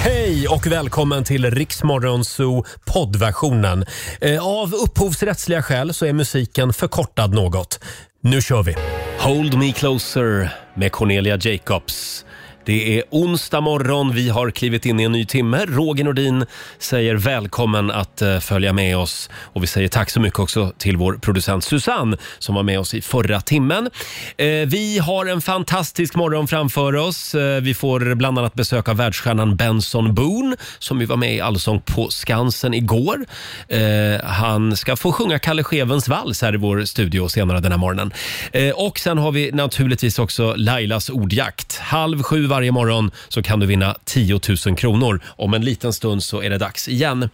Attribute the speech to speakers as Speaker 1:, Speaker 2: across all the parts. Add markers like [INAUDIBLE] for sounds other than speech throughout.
Speaker 1: Hej och välkommen till Riksmorgonzoo poddversionen. Eh, Av upphovsrättsliga skäl så är musiken förkortad något. Nu kör vi! Hold me closer med Cornelia Jacobs. Det är onsdag morgon, vi har klivit in i en ny timme. Roger Nordin säger välkommen att eh, följa med oss. Och vi säger tack så mycket också till vår producent Susanne som var med oss i förra timmen. Eh, Vi har en fantastisk morgon framför oss. Eh, Vi får bland annat besöka världsstjärnan Benson Boone som ju var med i Allsång på Skansen igår. Eh, Han ska få sjunga Kalle Schewens vals här i vår studio senare den här morgonen. Eh, Och sen har vi naturligtvis också Lailas ordjakt. Halv sju varje morgon så kan du vinna 10 000 kronor. Om en liten stund så är det dags igen.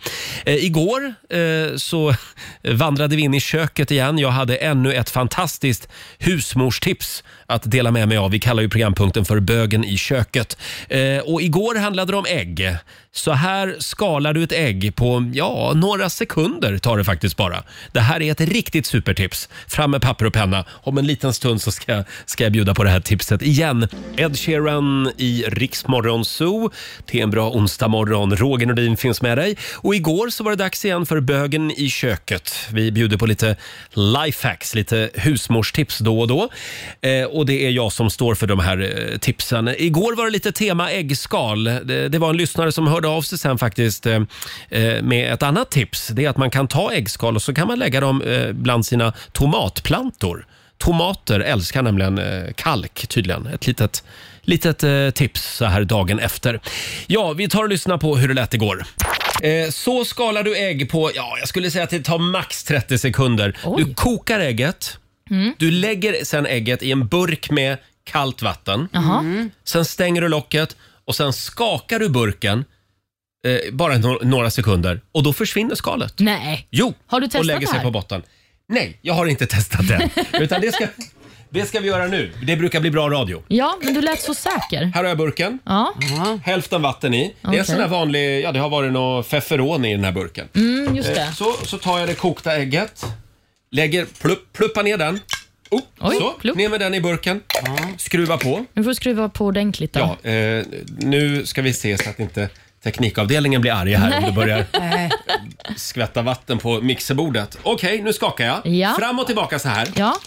Speaker 1: Eh, Igår eh, så [LAUGHS] vandrade vi in i köket igen. Jag hade ännu ett fantastiskt husmorstips att dela med mig av. Vi kallar ju programpunkten för Bögen i köket. Eh, och igår handlade det om ägg. Så här skalar du ett ägg på, ja, några sekunder tar det faktiskt bara. Det här är ett riktigt supertips. Fram med papper och penna. Om en liten stund så ska, jag- ska jag bjuda på det här tipset igen. Ed Sheeran i Riksmorgon Zoo. Det är en bra onsdagmorgon. Roger Nordin finns med dig. Och igår så var det dags igen för Bögen i köket. Vi bjuder på lite lifehacks, lite husmorstips då och då. Eh, och det är jag som står för de här eh, tipsen. Igår var det lite tema äggskal. Det, det var en lyssnare som hörde av sig sen faktiskt eh, eh, med ett annat tips. Det är att man kan ta äggskal och så kan man lägga dem eh, bland sina tomatplantor. Tomater älskar nämligen eh, kalk tydligen. Ett litet, litet eh, tips så här dagen efter. Ja, vi tar och lyssnar på hur det lät igår. Eh, Så skalar du ägg på, ja, jag skulle säga att det tar max 30 sekunder. Du kokar ägget.
Speaker 2: Mm.
Speaker 1: Du lägger sen ägget i en burk med kallt vatten.
Speaker 3: Mm.
Speaker 1: Sen stänger du locket och sen skakar du burken eh, bara no- några sekunder och då försvinner skalet.
Speaker 2: Nej.
Speaker 1: Jo,
Speaker 2: Mm. Har du testat
Speaker 1: och lägger sig
Speaker 2: det här?
Speaker 1: på botten. Nej, jag har inte testat
Speaker 2: [LAUGHS]
Speaker 1: det. Utan det ska, det ska vi göra nu. Det brukar bli bra radio.
Speaker 2: Ja, men du lät så säker.
Speaker 1: Här har jag burken.
Speaker 2: Ja,
Speaker 1: Hälften vatten i. Det är en
Speaker 2: Okej.
Speaker 1: sån här vanlig, ja det har varit någon feferon i den här burken. Eh,
Speaker 2: mm, just det.
Speaker 1: Så, så tar jag det kokta ägget, lägger, plupp, pluppar ner den. Oh,
Speaker 2: Oj,
Speaker 1: så,
Speaker 2: plupp.
Speaker 1: ner med den i burken. Skruva på.
Speaker 2: Nu får du skruva på ordentligt då.
Speaker 1: Ja, eh, nu ska vi se så att inte teknikavdelningen blir arg här om det börjar
Speaker 2: [LAUGHS]
Speaker 1: skvätta vatten på mixerbordet. Okej, nu skakar jag.
Speaker 2: Ja.
Speaker 1: Fram och tillbaka så här.
Speaker 2: Ja. [LAUGHS]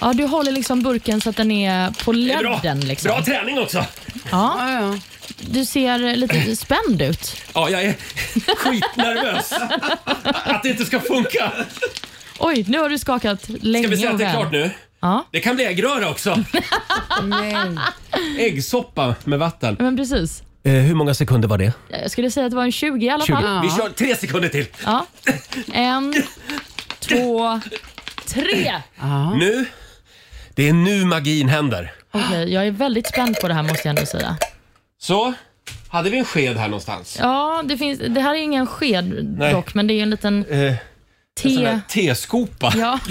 Speaker 2: Ja, du håller liksom burken så att den är på
Speaker 1: Det är Bra.
Speaker 2: ledden. Liksom.
Speaker 1: Bra träning också!
Speaker 2: Ja,
Speaker 4: Ja, ja.
Speaker 2: du ser
Speaker 1: [CLEARS THROAT]
Speaker 2: lite spänd ut.
Speaker 1: Ja, jag är
Speaker 2: [LAUGHS]
Speaker 1: skitnervös att det inte ska funka.
Speaker 2: Oj, nu har du skakat länge
Speaker 1: Ska vi säga
Speaker 2: och
Speaker 1: att det är
Speaker 2: väl.
Speaker 1: klart nu?
Speaker 2: Ja.
Speaker 1: Det kan bli äggröra
Speaker 2: [LAUGHS]
Speaker 1: också.
Speaker 4: Nej.
Speaker 1: Äggsoppa med vatten. Eh,
Speaker 2: Men precis.
Speaker 1: hur många sekunder var det?
Speaker 2: Jag skulle säga att det var en 20 i alla
Speaker 1: 20.
Speaker 2: fall.
Speaker 1: Vi kör tre sekunder till.
Speaker 2: Ja. En, två,
Speaker 1: [CLEARS THROAT]
Speaker 2: tre.
Speaker 1: Nu. Det är nu magin händer.
Speaker 2: Okej, jag är väldigt spänd på det här måste jag ändå säga.
Speaker 1: Så, hade vi en sked här någonstans?
Speaker 2: Ja, det, finns, det här är ingen sked
Speaker 1: Nej.
Speaker 2: dock, men det är en liten
Speaker 1: Eh, sån
Speaker 2: te...
Speaker 1: här teskopa. Ja. [LAUGHS]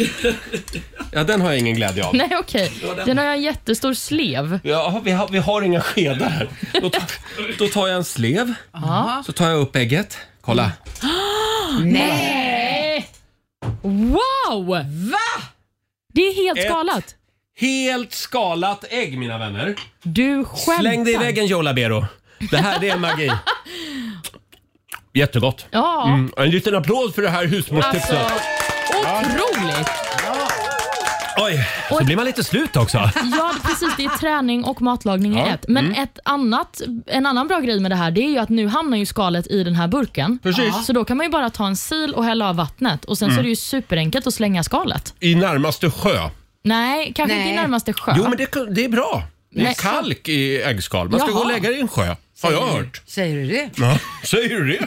Speaker 2: Ja,
Speaker 1: den har jag ingen glädje av.
Speaker 2: [LAUGHS] nej okej. Den har jag en jättestor slev. [GASPS]
Speaker 1: Ja, vi, har, vi har inga skedar här. Då, tar- då tar jag en slev,
Speaker 2: Ja.
Speaker 1: så tar jag upp ägget. Kolla.
Speaker 2: Mm. Nej! Wow! Va? Eh. Det är helt
Speaker 1: Ett.
Speaker 2: skalat.
Speaker 1: Helt skalat ägg, mina vänner.
Speaker 2: Du skämtar.
Speaker 1: Släng det i väggen, Joe Labero. Det här det är
Speaker 2: [LAUGHS]
Speaker 1: magi. Jättegott.
Speaker 2: Ja,
Speaker 1: Mm, en liten applåd för det här husmorstipset.
Speaker 2: alltså. Otroligt!
Speaker 1: Oj, så blir man lite slut också.
Speaker 2: Ja, precis. Det är träning och matlagning i
Speaker 1: Ja, Mm.
Speaker 2: ett. Men ett annat, en annan bra grej med det här det är ju att nu hamnar ju skalet i den här burken.
Speaker 1: Precis. Mm.
Speaker 2: Så då kan man ju bara ta en sil och hälla av vattnet och sen så är det ju superenkelt att slänga skalet.
Speaker 1: I närmaste sjö.
Speaker 2: Nej, kanske inte i
Speaker 4: Nej.
Speaker 2: närmaste sjö.
Speaker 1: Jo, men det, det är bra. Det är
Speaker 2: Nej.
Speaker 1: kalk i äggskal. Man ska
Speaker 2: Jaha.
Speaker 1: gå och lägga det i en sjö. Har jag hört.
Speaker 4: Säger du det?
Speaker 1: Ja, säger du det?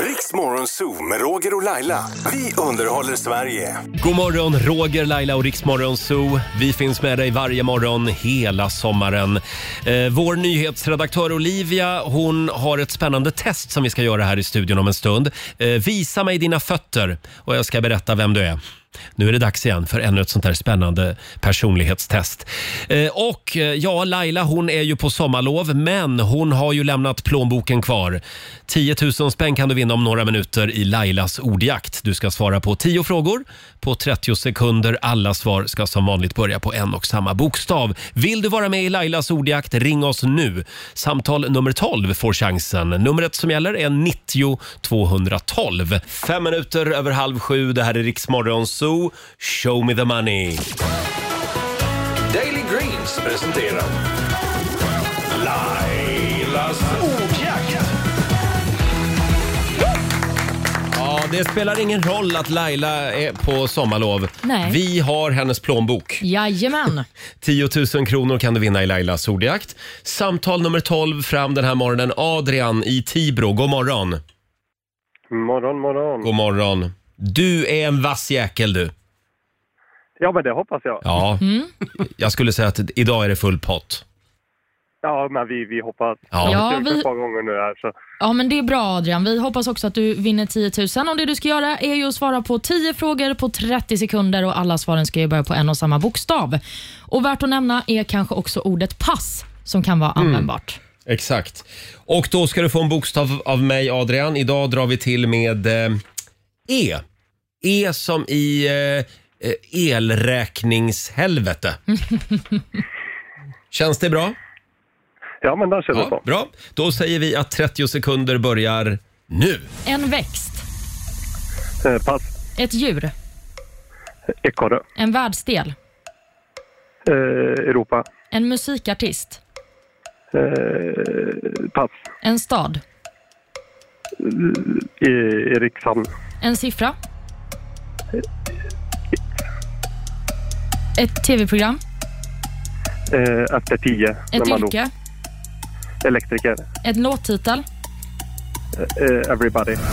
Speaker 5: Riksmorgon Zoo med Roger och Laila. Vi underhåller Sverige.
Speaker 1: God morgon, Roger, Laila och Riksmorgon Zoo. Vi finns med dig varje morgon hela sommaren. Eh, vår nyhetsredaktör Olivia hon har ett spännande test som vi ska göra här i studion om en stund. Eh, visa mig dina fötter och jag ska berätta vem du är. Nu är det dags igen för ännu ett sånt här spännande personlighetstest. Eh, och eh, ja, Laila hon är ju på på sommarlov, men hon har ju lämnat plånboken kvar. 10 000 spänn kan du vinna om några minuter i Lailas ordjakt. Du ska svara på 10 frågor på 30 sekunder. Alla svar ska som vanligt börja på en och samma bokstav. Vill du vara med i Lailas ordjakt, ring oss nu. Samtal nummer 12 får chansen. Numret som gäller är 90 212. Fem minuter över halv sju. Det här är Riksmorgon Zoo. Show me the money.
Speaker 6: Daily Greens presenterar Lailas ordjakt.
Speaker 1: Ja, det spelar ingen roll att Laila är på sommarlov.
Speaker 2: Nej.
Speaker 1: Vi har hennes plånbok.
Speaker 2: Jajamän.
Speaker 1: 10 000 kronor kan du vinna i Lailas ordjakt. Samtal nummer 12 fram den här morgonen. Adrian i Tibro, god morgon.
Speaker 7: Morgon, morgon.
Speaker 1: God morgon. Du är en vass jäkel du.
Speaker 7: Ja, men det hoppas jag. Ja,
Speaker 1: Ja, jag skulle säga att idag är det full pott.
Speaker 7: men vi, vi hoppas.
Speaker 1: Ja.
Speaker 7: Jag har
Speaker 2: Ja,
Speaker 7: försökt
Speaker 2: vi-
Speaker 7: ett par gånger nu här, så
Speaker 2: Ja, men det är bra Adrian. Vi hoppas också att du vinner 10 000. Och det du ska göra är ju att svara på 10 frågor på 30 sekunder och alla svaren ska ju börja på en och samma bokstav. Och värt att nämna är kanske också ordet pass som kan
Speaker 1: Mm.
Speaker 2: vara användbart.
Speaker 1: Exakt. Och då ska du få en bokstav av mig Adrian. Idag drar vi till med eh, E. E som i eh, eh, elräkningshelvete. Känns det bra?
Speaker 7: ja, men den känns det
Speaker 1: Ja,
Speaker 7: som.
Speaker 1: bra. Då säger vi att 30 sekunder börjar nu.
Speaker 2: En växt,
Speaker 7: Eh, Pass.
Speaker 2: ett djur,
Speaker 7: Ekorre.
Speaker 2: en världsdel,
Speaker 7: Eh, Europa.
Speaker 2: en musikartist,
Speaker 7: Eh, pass.
Speaker 2: en stad,
Speaker 7: I, Erikshamn.
Speaker 2: en siffra. Ett tv-program,
Speaker 7: Eh, efter tio.
Speaker 2: ett
Speaker 7: när man
Speaker 2: yrke,
Speaker 7: dog. Elektriker.
Speaker 2: ett låttitel.
Speaker 7: Eh, everybody.
Speaker 1: [LAUGHS]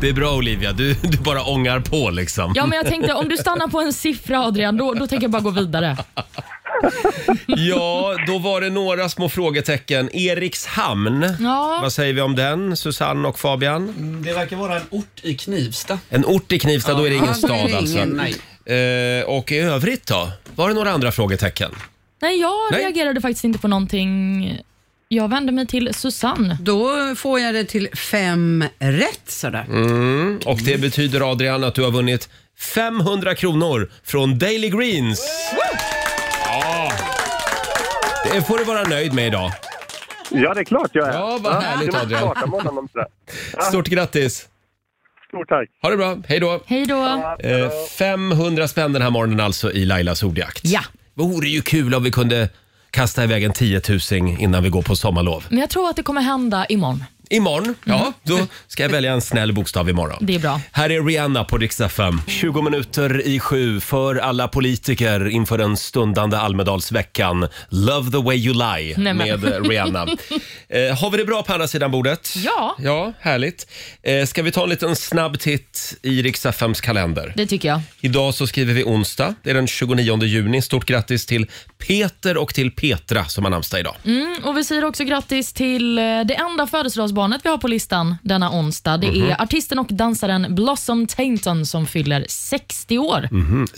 Speaker 1: Det är bra Olivia, du, du bara ångar på liksom.
Speaker 2: Ja, men jag tänkte om du stannar på en siffra Adrian, då, då tänker jag bara gå vidare.
Speaker 1: Ja, då var det några små frågetecken. Erikshamn,
Speaker 2: Ja.
Speaker 1: vad säger vi om den? Susanne och Fabian?
Speaker 8: Det verkar vara en ort i Knivsta.
Speaker 1: En ort i Knivsta, då är det ingen
Speaker 4: Ja, då är
Speaker 1: stad
Speaker 4: det
Speaker 1: alltså.
Speaker 4: ingen, nej.
Speaker 1: Eh, och i övrigt då? Var det några andra frågetecken?
Speaker 2: Nej, jag
Speaker 1: Nej.
Speaker 2: reagerade faktiskt inte på någonting. Jag vände mig till Susanne.
Speaker 4: Då får jag det till fem rätt sådär.
Speaker 1: Mm. Och det betyder Adrian att du har vunnit 500 kronor från Daily Greens. Ah. Ja. Det får du vara nöjd med idag.
Speaker 7: Ja, det är klart jag är.
Speaker 1: Ja, vad härligt,
Speaker 7: det var
Speaker 1: Adrian.
Speaker 7: klart, jag målar någon sådär.
Speaker 1: Stort grattis!
Speaker 7: Stort tack.
Speaker 1: Ha det bra, hej då!
Speaker 2: Hej då.
Speaker 1: Eh, 500 spänn den här morgonen alltså i Lailas ordjakt.
Speaker 2: Ja.
Speaker 1: Vore ju kul om vi kunde kasta iväg en 10 000 innan vi går på sommarlov.
Speaker 2: Men jag tror att det kommer hända imorgon. Mm.
Speaker 1: Imorgon, ja, då ska jag välja en snäll bokstav imorgon.
Speaker 2: Det är bra.
Speaker 1: Här är Rihanna på Rix FM. 20 minuter i sju för alla politiker inför den stundande Almedalsveckan. Love the way you lie
Speaker 2: Nej, men.
Speaker 1: med
Speaker 2: [LAUGHS]
Speaker 1: Rihanna. eh, har vi det bra på andra sidan bordet?
Speaker 2: Ja.
Speaker 1: Ja, härligt. Eh, ska vi ta en liten snabb titt i Rix FMs kalender?
Speaker 2: Det tycker jag.
Speaker 1: Idag så skriver vi onsdag. Det är den 29 juni. Stort grattis till Peter och till Petra som har namnsdag idag.
Speaker 2: Mm, och Vi säger också grattis till eh, det enda födelsedagsbarnet vi har på listan denna onsdag.
Speaker 1: Mhm.
Speaker 2: Det är artisten och dansaren Blossom Tainton som fyller 60 år.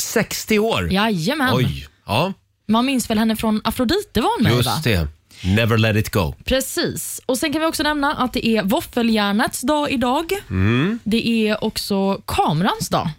Speaker 1: 60 Mhm. år!
Speaker 2: Jajamän.
Speaker 1: Oj! Ja,
Speaker 2: Man minns väl henne från Afrodite var hon med va?
Speaker 1: just det. Never let it go.
Speaker 2: Precis. Och Sen kan vi också nämna att det är våffeljärnets dag idag.
Speaker 1: Mm.
Speaker 2: Det är också kamerans dag. Mm.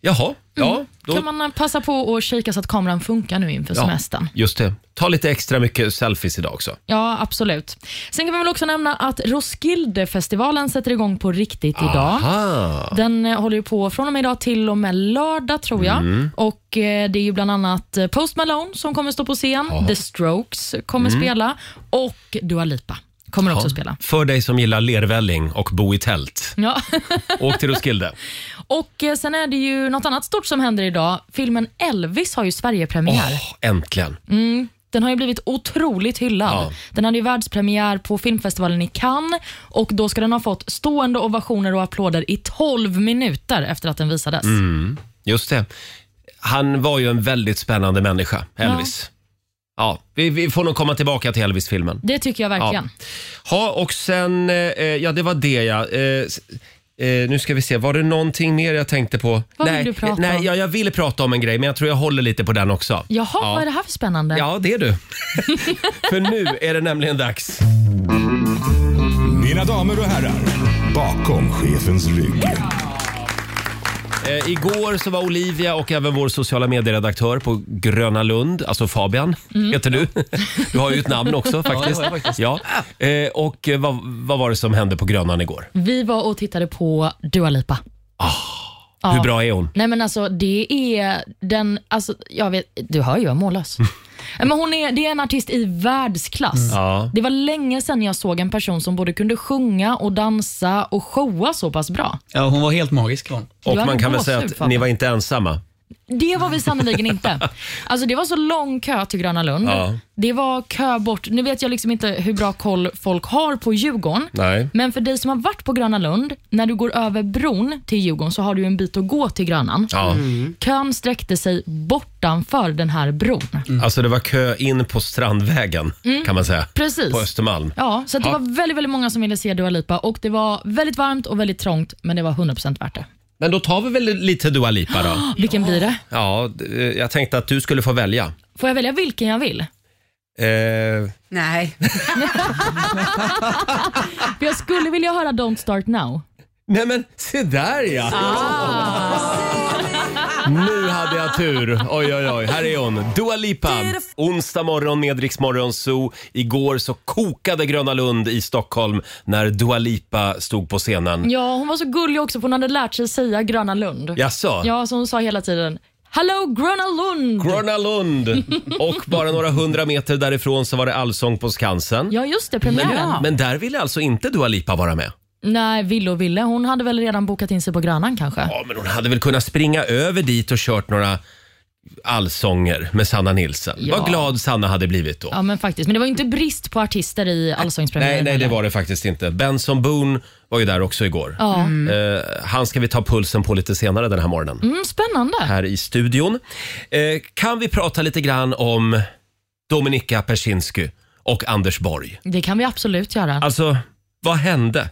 Speaker 1: Jaha, ja. Då,
Speaker 2: kan man passa på att kika så att kameran funkar nu inför semestern.
Speaker 1: Just det. Ta lite extra mycket selfies idag också.
Speaker 2: Ja, absolut. Sen kan vi väl också nämna att Roskildefestivalen sätter igång på riktigt
Speaker 1: Ah.
Speaker 2: idag.
Speaker 1: Aha.
Speaker 2: Den eh, håller ju på från och med idag till och med lördag tror jag.
Speaker 1: Mm.
Speaker 2: Och eh, Det är ju bland annat eh, Post Malone som kommer stå på scen, The Strokes kommer
Speaker 1: Mm.
Speaker 2: spela och Dua Lipa kommer också spela.
Speaker 1: För dig som gillar lervälling och bo i
Speaker 2: [LAUGHS]
Speaker 1: tält,
Speaker 2: Ja.
Speaker 1: åk till Roskilde.
Speaker 2: och eh, Sen är det ju något annat stort som händer idag. Filmen Elvis har ju Sverigepremiär. Mm,
Speaker 1: Åh, äntligen.
Speaker 2: Den har ju blivit otroligt hyllad.
Speaker 1: Ja.
Speaker 2: Den hade ju världspremiär på filmfestivalen i Cannes och då ska den ha fått stående ovationer och applåder i 12 minuter efter att den visades.
Speaker 1: Mm. Just det. Han var ju en väldigt spännande människa, Elvis. Ja. vi, vi får nog komma tillbaka till Elvis-filmen.
Speaker 2: Det tycker jag verkligen.
Speaker 1: Ja, och sen, eh, ja det var det ja. Eh, s- Eh, nu ska vi se, var det någonting mer jag tänkte på?
Speaker 2: Vad vill
Speaker 1: nej,
Speaker 2: du prata
Speaker 1: nej,
Speaker 2: om?
Speaker 1: Jag, jag ville prata om en grej, men jag tror jag håller lite på den också.
Speaker 2: Jaha,
Speaker 1: Ja.
Speaker 2: vad är det här för spännande?
Speaker 1: Ja, det är du. [LAUGHS] För nu är det nämligen dags.
Speaker 9: Mina damer och herrar, bakom chefens rygg.
Speaker 1: Eh, igår så var Olivia och även vår sociala medieredaktör på Gröna Lund, alltså Fabian
Speaker 2: Mm.
Speaker 1: heter du. [LAUGHS] Du har ju ett namn också faktiskt.
Speaker 8: jag har faktiskt.
Speaker 1: Ja. Eh, och eh, vad, vad var det som hände på Grönan igår?
Speaker 2: Vi var och tittade på Dua Lipa. Ja.
Speaker 1: Ah. Hur bra är hon?
Speaker 2: Nej men alltså det är den, alltså jag vet, du hör ju jag är [LAUGHS] mållös. Nej, men hon är, det är en artist i världsklass.
Speaker 1: Mm. Ja.
Speaker 2: Det var länge sedan jag såg en person som både kunde sjunga och dansa och showa så pass bra.
Speaker 8: Ja, hon var helt magisk. var Hon.
Speaker 1: Och
Speaker 2: Jag hade
Speaker 1: man kan väl
Speaker 2: gåshud,
Speaker 1: säga att
Speaker 2: Fabian.
Speaker 1: ni var inte ensamma.
Speaker 2: Det var vi
Speaker 1: [LAUGHS]
Speaker 2: sannerligen inte. Alltså det var så lång kö till Gröna Lund.
Speaker 1: Ja.
Speaker 2: Det var kö bort. Nu vet jag liksom inte hur bra koll folk har på Djurgården.
Speaker 1: Nej.
Speaker 2: Men för dig som har varit på Gröna Lund, när du går över bron till Djurgården så har du ju en bit att gå till Grönan.
Speaker 1: Ja.
Speaker 2: Kön sträckte sig bortanför den här bron.
Speaker 1: Alltså det var kö in på Strandvägen kan man säga.
Speaker 2: Mm. Precis.
Speaker 1: På Östermalm.
Speaker 2: Ja, så att det
Speaker 1: Ja.
Speaker 2: var väldigt, väldigt många som ville se Dua Lipa och det var väldigt varmt och väldigt trångt, men det var 100% värt det.
Speaker 1: Men då tar vi väl lite Dua Lipa då.
Speaker 2: Vilken blir det?
Speaker 1: [GASPS] Ja, d- eh, jag tänkte att du skulle få välja.
Speaker 2: Får jag välja vilken jag vill?
Speaker 1: Eh,
Speaker 4: Nej.
Speaker 2: [LAUGHS] För jag skulle vilja höra Don't Start Now.
Speaker 1: nej men se där ja! [LAUGHS] Nu hade jag tur. Oj, oj, oj. Här är hon, Dua Lipa. Onsdag morgon med Rix Morgon Zoo. Igår så kokade Gröna Lund i Stockholm när Dua Lipa stod på scenen.
Speaker 2: Ja, hon var så gullig också för hon hade lärt sig säga Gröna Lund.
Speaker 1: Jaså?
Speaker 2: Ja, så hon sa hela tiden Hello Gröna Lund!
Speaker 1: Gröna
Speaker 2: [LAUGHS]
Speaker 1: Lund. Och bara några hundra meter därifrån så var det Allsång på Skansen.
Speaker 2: ja, just det, premiären.
Speaker 1: Men där ville alltså inte Dua Lipa vara med.
Speaker 2: Nej, ville och ville. Hon hade väl redan bokat in sig på Grönan kanske.
Speaker 1: Ja, men hon hade väl kunnat springa över dit och kört några allsånger med Sanna Nilsson.
Speaker 2: Ja.
Speaker 1: Vad glad Sanna hade blivit då.
Speaker 2: Ja, men faktiskt. Men det var ju inte brist på artister i allsångspremiären.
Speaker 1: nej, nej, det
Speaker 2: heller.
Speaker 1: var det faktiskt inte. Benson Boone var ju där också igår.
Speaker 2: Ja. Mm.
Speaker 1: Eh, han ska vi ta pulsen på lite senare den här morgonen.
Speaker 2: spännande.
Speaker 1: Här i studion. Eh, kan vi prata lite grann om Dominika Persinsky och Anders Borg?
Speaker 2: Det kan vi absolut göra.
Speaker 1: Alltså, vad hände?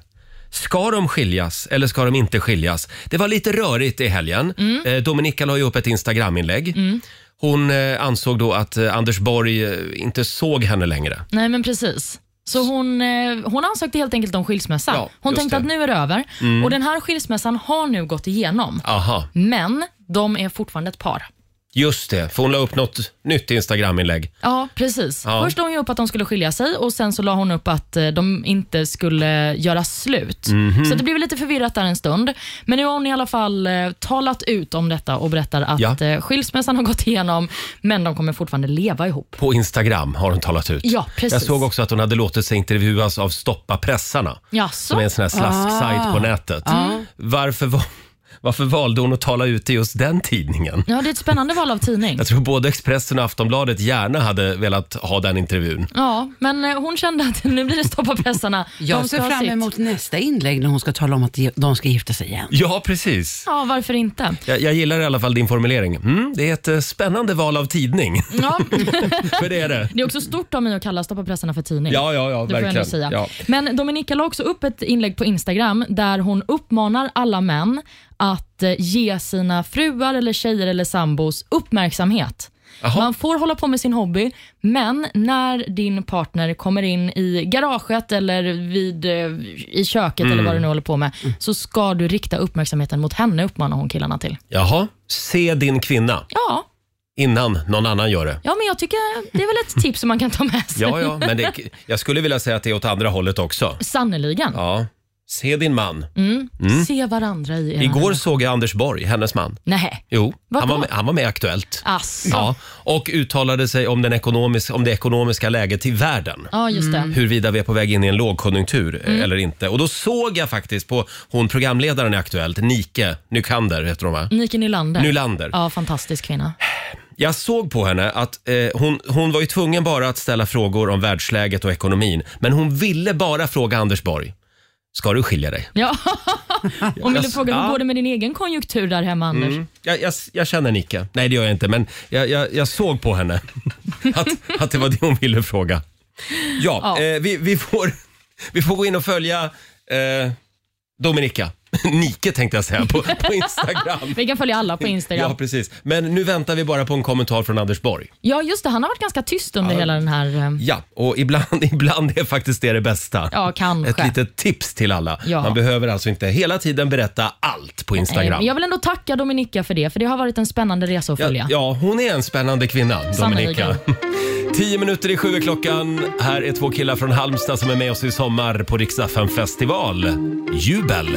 Speaker 1: Ska de skiljas eller ska de inte skiljas? Det var lite rörigt i helgen. Mm. Dominika la ju upp ett Instagram-inlägg.
Speaker 2: Mm.
Speaker 1: Hon eh, ansåg då att eh, Anders Borg eh, inte såg henne längre.
Speaker 2: Nej, men precis. Så hon, eh, hon ansökte helt enkelt om skilsmässa.
Speaker 1: Ja,
Speaker 2: hon
Speaker 1: just
Speaker 2: tänkte
Speaker 1: det. Mm.
Speaker 2: att nu är det över och den här skilsmässan har nu gått igenom.
Speaker 1: Aha,
Speaker 2: Men de är fortfarande ett par.
Speaker 1: just det. För hon la upp något nytt Instagram-inlägg.
Speaker 2: Ja, precis.
Speaker 1: Ja.
Speaker 2: Först la hon ju upp att de skulle skilja sig och sen så la hon upp att eh, de inte skulle göra slut.
Speaker 1: Mhm.
Speaker 2: Så det blev lite förvirrat där en stund. Men nu har hon i alla fall eh, talat ut om detta och berättar att
Speaker 1: Ja.
Speaker 2: eh, skilsmässan har gått igenom, men de kommer fortfarande leva ihop.
Speaker 1: På Instagram har hon talat ut.
Speaker 2: Ja, precis.
Speaker 1: Jag såg också att hon hade låtit sig intervjuas av Stoppa pressarna.
Speaker 2: Jaså? Ah.
Speaker 1: Som är en sån här slasksajt på nätet. Varför, va- varför valde hon att tala ut i just den tidningen?
Speaker 2: Ja, det är ett spännande val av tidning.
Speaker 1: Jag tror både Expressen och Aftonbladet gärna hade velat ha den intervjun.
Speaker 2: Ja, men eh, hon kände att nu blir det stoppa pressarna.
Speaker 4: Jag
Speaker 2: De ska
Speaker 4: ser
Speaker 2: ha
Speaker 4: fram
Speaker 2: sitt.
Speaker 4: emot nästa inlägg när hon ska tala om att ge- de ska gifta sig igen.
Speaker 1: Ja, precis.
Speaker 2: Ja, varför inte?
Speaker 1: Jag, jag gillar i alla fall din formulering. Mm, det är ett eh, spännande val av tidning. [LAUGHS]
Speaker 2: Ja,
Speaker 1: För det är det.
Speaker 2: det är också stort av mig att kalla stoppa pressarna för tidning.
Speaker 1: Ja, ja, ja,
Speaker 2: Det får jag ändå
Speaker 1: verkligen.
Speaker 2: säga.
Speaker 1: Ja.
Speaker 2: Men Dominika la också upp ett inlägg på Instagram där hon uppmanar alla män att eh, ge sina fruar, eller tjejer eller sambos uppmärksamhet.
Speaker 1: Jaha.
Speaker 2: Man får hålla på med sin hobby, men när din partner kommer in i garaget eller vid, eh, i köket eller
Speaker 1: Mm.
Speaker 2: vad du nu håller på med, så ska du rikta uppmärksamheten mot henne, uppmanar hon killarna till.
Speaker 1: Jaha, se din kvinna
Speaker 2: Ja,
Speaker 1: innan någon annan gör det.
Speaker 2: ja men jag tycker det är väl ett tips som man kan ta med sig.
Speaker 1: Ja, ja, men det, jag skulle vilja säga att det är åt andra hållet också.
Speaker 2: Sannerligen.
Speaker 1: Ja, se din man.
Speaker 2: Mm. Se varandra i era-
Speaker 1: Mm. Igår såg jag Anders Borg, hennes man.
Speaker 2: Nej. Alltså,
Speaker 1: Jo, han
Speaker 2: Vadå?
Speaker 1: var, med, han var med i Aktuellt.
Speaker 2: Asså.
Speaker 1: Ja, och uttalade sig om, den ekonomis- om det ekonomiska läget i världen. Mm.
Speaker 2: Ja, just det. Mm.
Speaker 1: huruvida vi är på väg in i en lågkonjunktur eh, eller inte. Och då såg jag faktiskt på hon programledaren i Aktuellt, Nike Nykander heter hon va?
Speaker 2: Nike Nylander.
Speaker 1: Nylander.
Speaker 2: Ja, fantastisk kvinna.
Speaker 1: Jag såg på henne att eh, hon, hon var ju tvungen bara att ställa frågor om världsläget och ekonomin. Men hon ville bara fråga Anders Borg. Ska du skilja dig? [LAUGHS]
Speaker 2: Ja. Om vill du
Speaker 1: Jag-
Speaker 2: fråga hur
Speaker 1: ja.
Speaker 2: går det med din egen konjunktur där hemma, Anders?
Speaker 1: Mm. Jag, jag, jag känner Nike. Nej, det gör jag inte. Men jag, jag, jag såg på
Speaker 2: [LAUGHS]
Speaker 1: henne att, att det var det hon ville fråga. Ja,
Speaker 2: Ja.
Speaker 1: Eh, vi, vi, får, vi får gå in och följa eh, Dominika. [LAUGHS] Nike tänkte jag säga på, på Instagram.
Speaker 2: Vi kan följa alla på Instagram.
Speaker 1: Ja,
Speaker 2: [LAUGHS] Ja,
Speaker 1: precis. Men nu väntar vi bara på en kommentar från Anders Borg.
Speaker 2: just det. Han har varit ganska tyst under hela den här... eh,
Speaker 1: Ja, och ibland, [LAUGHS] ibland är faktiskt det det bästa.
Speaker 2: Ja, kanske.
Speaker 1: Ett litet tips till alla.
Speaker 2: Ja.
Speaker 1: Man behöver alltså inte hela tiden berätta allt på
Speaker 2: eh,
Speaker 1: Instagram.
Speaker 2: Jag vill ändå tacka Dominika för det, för det har varit en spännande resa att följa.
Speaker 1: Ja, ja, hon är en spännande kvinna, Dominika.
Speaker 2: Sannerligen.
Speaker 1: [LAUGHS] Tio minuter i sju är klockan. Här är två killar från Halmstad som är med oss i sommar på Riksdagen festival. Jubel!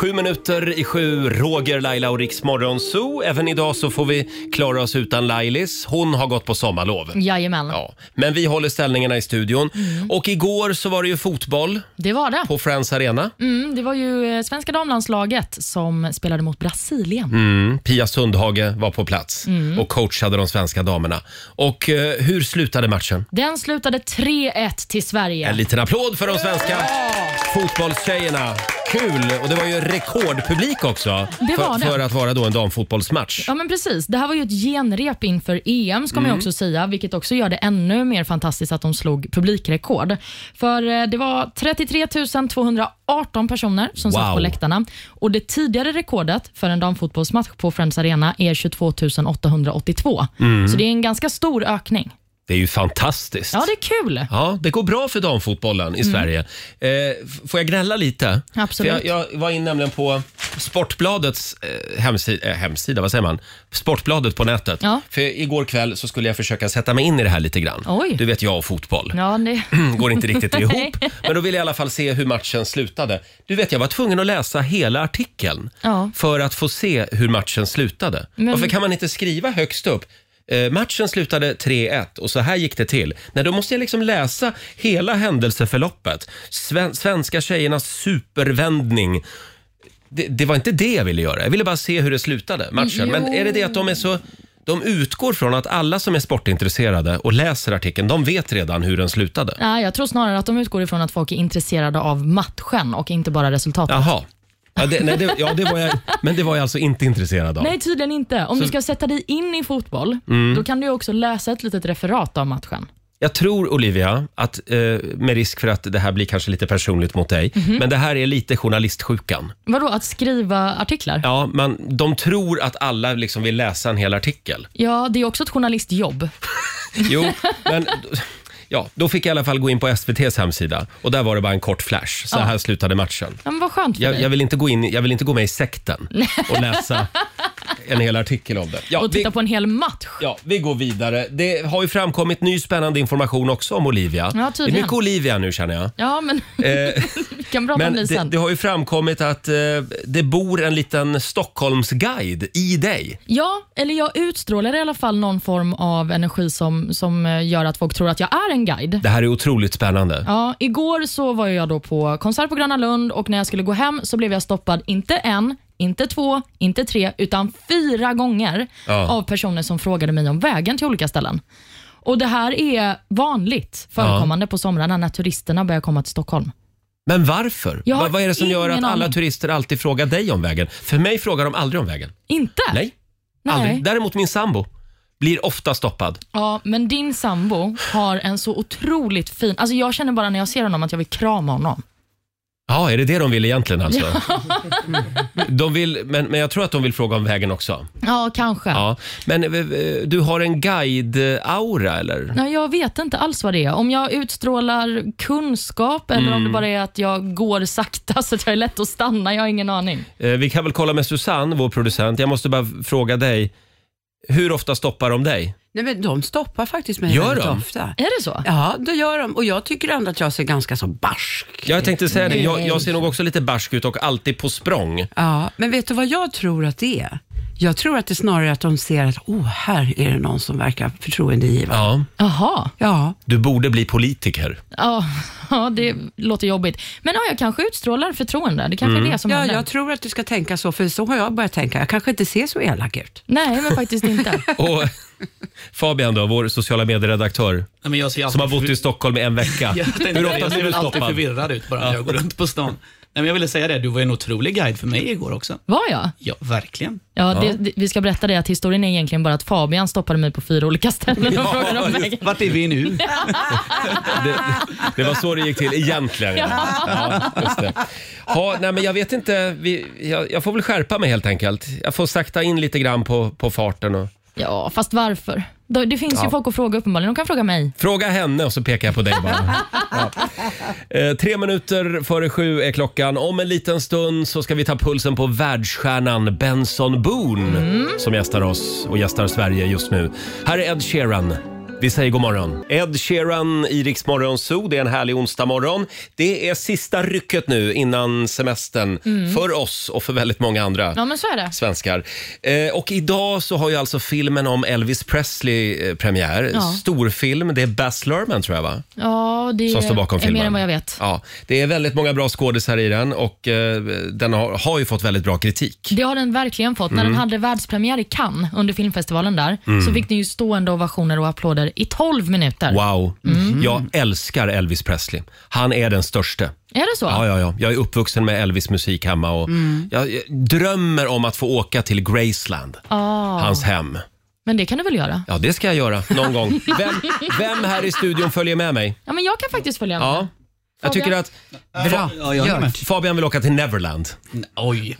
Speaker 1: Sju minuter i sju, Roger, Laila och Riks Morgonzoo. Även idag så får vi klara oss utan Lailis. Hon har gått på sommarlov.
Speaker 2: Jajamän.
Speaker 1: Ja, men vi håller ställningarna i studion. Och igår så var det ju fotboll
Speaker 2: Mm. Det var det.
Speaker 1: på Friends Arena.
Speaker 2: Mm, det var ju eh, svenska damlandslaget som spelade mot Brasilien.
Speaker 1: Mm, Pia Sundhage var på plats
Speaker 2: Mm.
Speaker 1: och coachade de svenska damerna. Och eh, hur slutade matchen?
Speaker 2: Den slutade 3-1 till Sverige.
Speaker 1: En liten applåd för de svenska fotbollstjejerna. Kul! Och det var ju rekordpublik också
Speaker 2: Det
Speaker 1: för,
Speaker 2: var det.
Speaker 1: för att vara då en damfotbollsmatch.
Speaker 2: Ja men precis. Det här var ju ett genrep inför EM ska man ju också säga, vilket också gör det ännu mer fantastiskt att de slog publikrekord. För eh, det var 33 218 personer som
Speaker 1: Wow.
Speaker 2: satt på läktarna och det tidigare rekordet för en damfotbollsmatch på Friends Arena är 22 882. Så det är en ganska stor ökning.
Speaker 1: Det är ju fantastiskt.
Speaker 2: Ja, det är kul. Mm.
Speaker 1: Ja, det går bra för damfotbollen i Sverige. Eh, f- får jag gnälla lite?
Speaker 2: Absolut.
Speaker 1: För jag, jag var in nämligen på Sportbladets eh, hemsida, eh, hemsida, vad säger man? Sportbladet på nätet.
Speaker 2: Ja.
Speaker 1: För igår kväll så skulle jag försöka sätta mig in i det här lite grann.
Speaker 2: Oj.
Speaker 1: Du vet, jag och fotboll.
Speaker 2: Ja, det...
Speaker 1: [CLEARS THROAT] Går inte riktigt
Speaker 2: [LAUGHS] Nej.
Speaker 1: ihop. Men då ville jag i alla fall se hur matchen slutade. Du vet, jag var tvungen att läsa hela artikeln
Speaker 2: Ja.
Speaker 1: för att få se hur matchen slutade.
Speaker 2: Men-
Speaker 1: Varför kan man inte skriva högst upp? eh, Matchen slutade 3-1 och så här gick det till. Nej, då måste jag liksom läsa hela händelseförloppet. Sven- svenska tjejernas supervändning. Det, det var inte det jag ville göra. Jag ville bara se hur det slutade, matchen. Men
Speaker 2: Jo.
Speaker 1: är det det att de är så... De utgår från att alla som är sportintresserade och läser artikeln, de vet redan hur den slutade.
Speaker 2: Nej, jag tror snarare att de utgår ifrån att folk är intresserade av matchen och inte bara resultatet.
Speaker 1: Jaha. Ja, det, nej, det, ja, det var jag, men det var jag alltså inte intresserad av.
Speaker 2: Nej, tydligen inte. Om du ska sätta dig in i fotboll,
Speaker 1: Mm.
Speaker 2: då kan du ju också läsa ett litet referat av matchen.
Speaker 1: Jag tror, Olivia, att eh, med risk för att det här blir kanske lite personligt mot dig,
Speaker 2: Mhm.
Speaker 1: men det här är lite journalistsjukan.
Speaker 2: Vadå, att skriva artiklar? Ja,
Speaker 1: Ja, man, de tror att alla liksom vill läsa en hel artikel.
Speaker 2: det är också ett journalistjobb. [LAUGHS]
Speaker 1: Jo, men... Ja, då fick jag i alla fall gå in på SVTs hemsida och där var det bara en kort flash. Så här slutade matchen.
Speaker 2: Ja, men vad skönt för
Speaker 1: Jag,
Speaker 2: dig. [LAUGHS]
Speaker 1: jag, vill inte gå in, jag vill inte gå med i sekten och läsa en hel artikel om det. Ja,
Speaker 2: och
Speaker 1: vi-
Speaker 2: titta på en hel match.
Speaker 1: Ja, vi går vidare. Det har ju framkommit ny spännande information också om Olivia.
Speaker 2: Ja,
Speaker 1: det är
Speaker 2: tydligen.
Speaker 1: mycket Olivia nu känner jag.
Speaker 2: Ja, men [LAUGHS]
Speaker 1: Eh,
Speaker 2: vi kan
Speaker 1: [LAUGHS]
Speaker 2: prata
Speaker 1: men
Speaker 2: om det
Speaker 1: det,
Speaker 2: sen.
Speaker 1: det har ju framkommit att eh, det bor en liten Stockholmsguide i dig.
Speaker 2: Ja, eller jag utstrålar i alla fall någon form av energi som, som eh, gör att folk tror att jag är en guide.
Speaker 1: Det här är otroligt spännande.
Speaker 2: Ja, igår så var jag då på konsert på Gröna Lund och när jag skulle gå hem så blev jag stoppad, inte en, inte två, inte tre, utan fyra gånger
Speaker 1: Ja.
Speaker 2: av personer som frågade mig om vägen till olika ställen. Och Det här är vanligt förekommande på somrarna när turisterna börjar komma till Stockholm.
Speaker 1: Men varför?
Speaker 2: Jag har
Speaker 1: Va, vad är det som gör att
Speaker 2: ingen
Speaker 1: alla
Speaker 2: aning.
Speaker 1: turister alltid frågar dig om vägen? För mig frågar de aldrig om vägen.
Speaker 2: Inte?
Speaker 1: Nej, aldrig.
Speaker 2: Nej.
Speaker 1: Däremot min sambo blir ofta stoppad.
Speaker 2: Ja, men din sambo har en så otroligt fin... Alltså Jag känner bara när jag ser honom att jag vill krama honom.
Speaker 1: Ja, är det det de vill egentligen alltså? [LAUGHS] De vill, men, men jag tror att de vill fråga om vägen också.
Speaker 2: Ja, kanske.
Speaker 1: Ja, men eh, du har en guide-aura eller?
Speaker 2: Nej, jag vet inte alls vad det är. Om jag utstrålar kunskap eller
Speaker 1: Mm.
Speaker 2: om det bara är att jag går sakta så att jag är lätt att stanna. Jag har ingen aning.
Speaker 1: Eh, Vi kan väl kolla med Susanne, vår producent. Jag måste bara fråga dig, hur ofta stoppar de dig?
Speaker 4: Nej, men de stoppar faktiskt mig
Speaker 1: Gör
Speaker 4: väldigt
Speaker 1: de?
Speaker 4: ofta.
Speaker 2: Är det så?
Speaker 4: Ja, det gör de. Och jag tycker ändå att jag ser ganska så barsk.
Speaker 1: Jag tänkte säga det, jag,
Speaker 2: Nej.
Speaker 1: jag ser nog också lite barsk ut och alltid på språng.
Speaker 4: Ja, men vet du vad jag tror att det är? Jag tror att det är snarare att de ser att, oh, här är det någon som verkar förtroendegiven.
Speaker 1: Ja,
Speaker 2: Jaha.
Speaker 4: Ja.
Speaker 1: du borde bli politiker.
Speaker 2: Ja, [LAUGHS] ja, det låter jobbigt. Men ja, jag kanske utstrålar förtroende. Det
Speaker 1: Mm.
Speaker 2: kanske är det som
Speaker 4: Ja,
Speaker 2: händer.
Speaker 4: jag tror att du ska tänka så, för så har jag börjat tänka. Jag kanske inte ser så elak ut.
Speaker 2: Nej, men
Speaker 1: [LAUGHS]
Speaker 2: faktiskt inte.
Speaker 8: [LAUGHS]
Speaker 1: Och Fabian då, vår sociala medieredaktör,
Speaker 8: Nej, men jag ser alltid
Speaker 1: som har bott i Stockholm i en vecka.
Speaker 8: Jag, tänkte,
Speaker 1: Hur
Speaker 8: det,
Speaker 1: ofta
Speaker 8: jag ser
Speaker 1: blir du
Speaker 8: väl alltid
Speaker 1: stoppad?
Speaker 8: förvirrad ut bara när jag går runt på stan. men jag ville säga det, du var en otrolig guide för mig igår också.
Speaker 2: Var jag?
Speaker 8: Ja, verkligen.
Speaker 2: Ja, Det, det, vi ska berätta det att historien är egentligen bara att Fabian stoppade mig på fyra olika
Speaker 1: [LAUGHS]
Speaker 2: ställen och frågade om vägen.
Speaker 8: Vart är vi nu?
Speaker 1: Det, det var så det gick till egentligen. Ja. Ja, just det. Ha, nej, men jag vet inte. Vi, jag, jag får väl skärpa mig helt enkelt. Jag får sakta in lite grann på, på farten. Och...
Speaker 2: [LAUGHS] Ja, fast varför? Det, det finns
Speaker 1: Ja.
Speaker 2: ju folk att fråga uppenbarligen. De kan fråga mig.
Speaker 1: Fråga henne och så pekar jag på dig bara. Ja. Eh, tre minuter före sju är klockan. Om en liten stund så ska vi ta pulsen på världsstjärnan Benson Boone som gästar oss och gästar Sverige just nu. Här är Ed Sheeran. Vi säger god morgon. Ed Sheeran i Rix Morgon Zoo. Det är en härlig onsdag morgon. Det är sista rycket nu innan semestern för oss och för väldigt många andra
Speaker 2: Mm. Ja, men så är det.
Speaker 1: svenskar. Eh, och idag så har ju alltså filmen om Elvis Presley eh, premiär.
Speaker 2: Ja.
Speaker 1: Storfilm. Det är Baz Luhrmann tror jag va?
Speaker 2: Ja, det
Speaker 1: Som står bakom
Speaker 2: är
Speaker 1: filmen.
Speaker 2: mer än vad jag vet.
Speaker 1: Ja, det är väldigt många bra skådisar i den och eh, den har, har ju fått väldigt bra kritik.
Speaker 2: Det har den verkligen fått. När
Speaker 1: Mm.
Speaker 2: den hade världspremiär i Cannes under filmfestivalen där, så fick den ju stående ovationer och applåder i 12 minuter.
Speaker 1: Wow.
Speaker 2: Mm.
Speaker 1: Jag älskar Elvis Presley. Han är den största.
Speaker 2: Är det så? Mm.
Speaker 1: Ja, ja, ja. Jag är uppvuxen med Elvis musik hemma och jag, jag drömmer om att få åka till Graceland,
Speaker 2: Ah,
Speaker 1: hans hem.
Speaker 2: Men det kan du väl göra?
Speaker 1: Ja, det ska jag göra någon gång. Vem, vem här i studion följer med mig?
Speaker 2: Ja, men jag kan faktiskt följa med.
Speaker 1: Ja. Jag tycker att
Speaker 4: Bra.
Speaker 8: Ja, jag är med.
Speaker 1: Fabian vill åka till Neverland.
Speaker 8: Oj.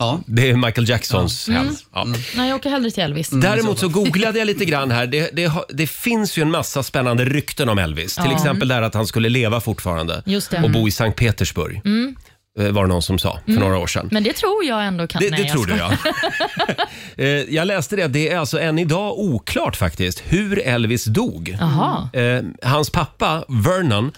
Speaker 8: Ja, Mm.
Speaker 1: Det är Michael Jacksons
Speaker 2: Mm.
Speaker 1: hem. Ja.
Speaker 2: Nej, jag åker hellre till Elvis.
Speaker 1: Mm. Däremot så googlade jag lite grann här. Det, det, har- det finns ju en massa spännande rykten om Elvis. Till
Speaker 2: Ja.
Speaker 1: exempel där att han skulle leva fortfarande
Speaker 2: Just det. Mm.
Speaker 1: och bo i Sankt Petersburg. Eh, Var det någon som sa för några år sedan.
Speaker 2: Men det tror jag ändå kan...
Speaker 1: Det,
Speaker 2: Nej,
Speaker 1: det
Speaker 2: jag
Speaker 1: tror du
Speaker 2: skojar.
Speaker 1: ja. [LAUGHS] Eh, jag läste det, det är alltså än idag oklart faktiskt hur Elvis dog.
Speaker 2: Jaha.
Speaker 1: Eh, hans pappa Vernon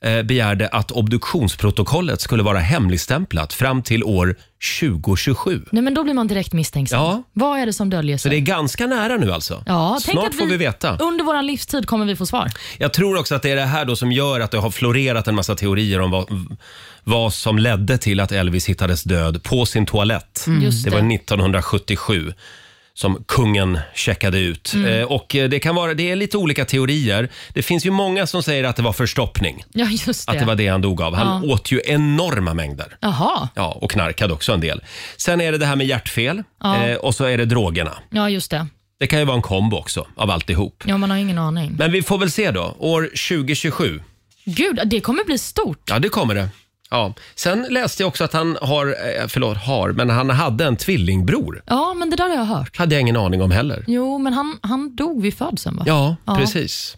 Speaker 1: eh, begärde att obduktionsprotokollet skulle vara hemligstämplat fram till år 2027.
Speaker 2: [LAUGHS] Nej, men då blir man direkt misstänksam.
Speaker 1: Ja.
Speaker 2: Vad är det som döljer
Speaker 1: Så det är
Speaker 2: sig?
Speaker 1: ganska nära nu alltså.
Speaker 2: Ja, tänk
Speaker 1: Snart
Speaker 2: att
Speaker 1: får vi veta.
Speaker 2: Under vår livstid kommer vi få svar.
Speaker 1: Jag tror också att det är det här då som gör att det har florerat en massa teorier om vad, vad som ledde till att Elvis hittades död på sin toalett.
Speaker 2: Mm. Just
Speaker 1: Det var
Speaker 2: det.
Speaker 1: 1977 som kungen checkade ut.
Speaker 2: Mm.
Speaker 1: Eh, och eh, det, kan vara, det är lite olika teorier. Det finns ju många som säger att det var förstoppning.
Speaker 2: Ja, just det.
Speaker 1: Att det var det han dog av. Han åt ju enorma mängder.
Speaker 2: Jaha.
Speaker 1: Ja, och knarkade också en del. Sen är det det här med hjärtfel
Speaker 2: Ja.
Speaker 1: eh, och så är det drogerna.
Speaker 2: Ja, just det.
Speaker 1: Det kan ju vara en kombo också av alltihop.
Speaker 2: Ja, man har ingen aning.
Speaker 1: Men vi får väl se då. År 2027.
Speaker 2: Gud, det kommer bli stort.
Speaker 1: Ja, det kommer det. Ja. Sen läste jag också att han har, eh, förlåt, har, men han hade en tvillingbror.
Speaker 2: Ja, men det där har jag hört.
Speaker 1: Hade jag ingen aning om heller.
Speaker 2: Jo, men han, han dog vid födseln va?
Speaker 1: Ja,
Speaker 2: Ja.
Speaker 1: precis.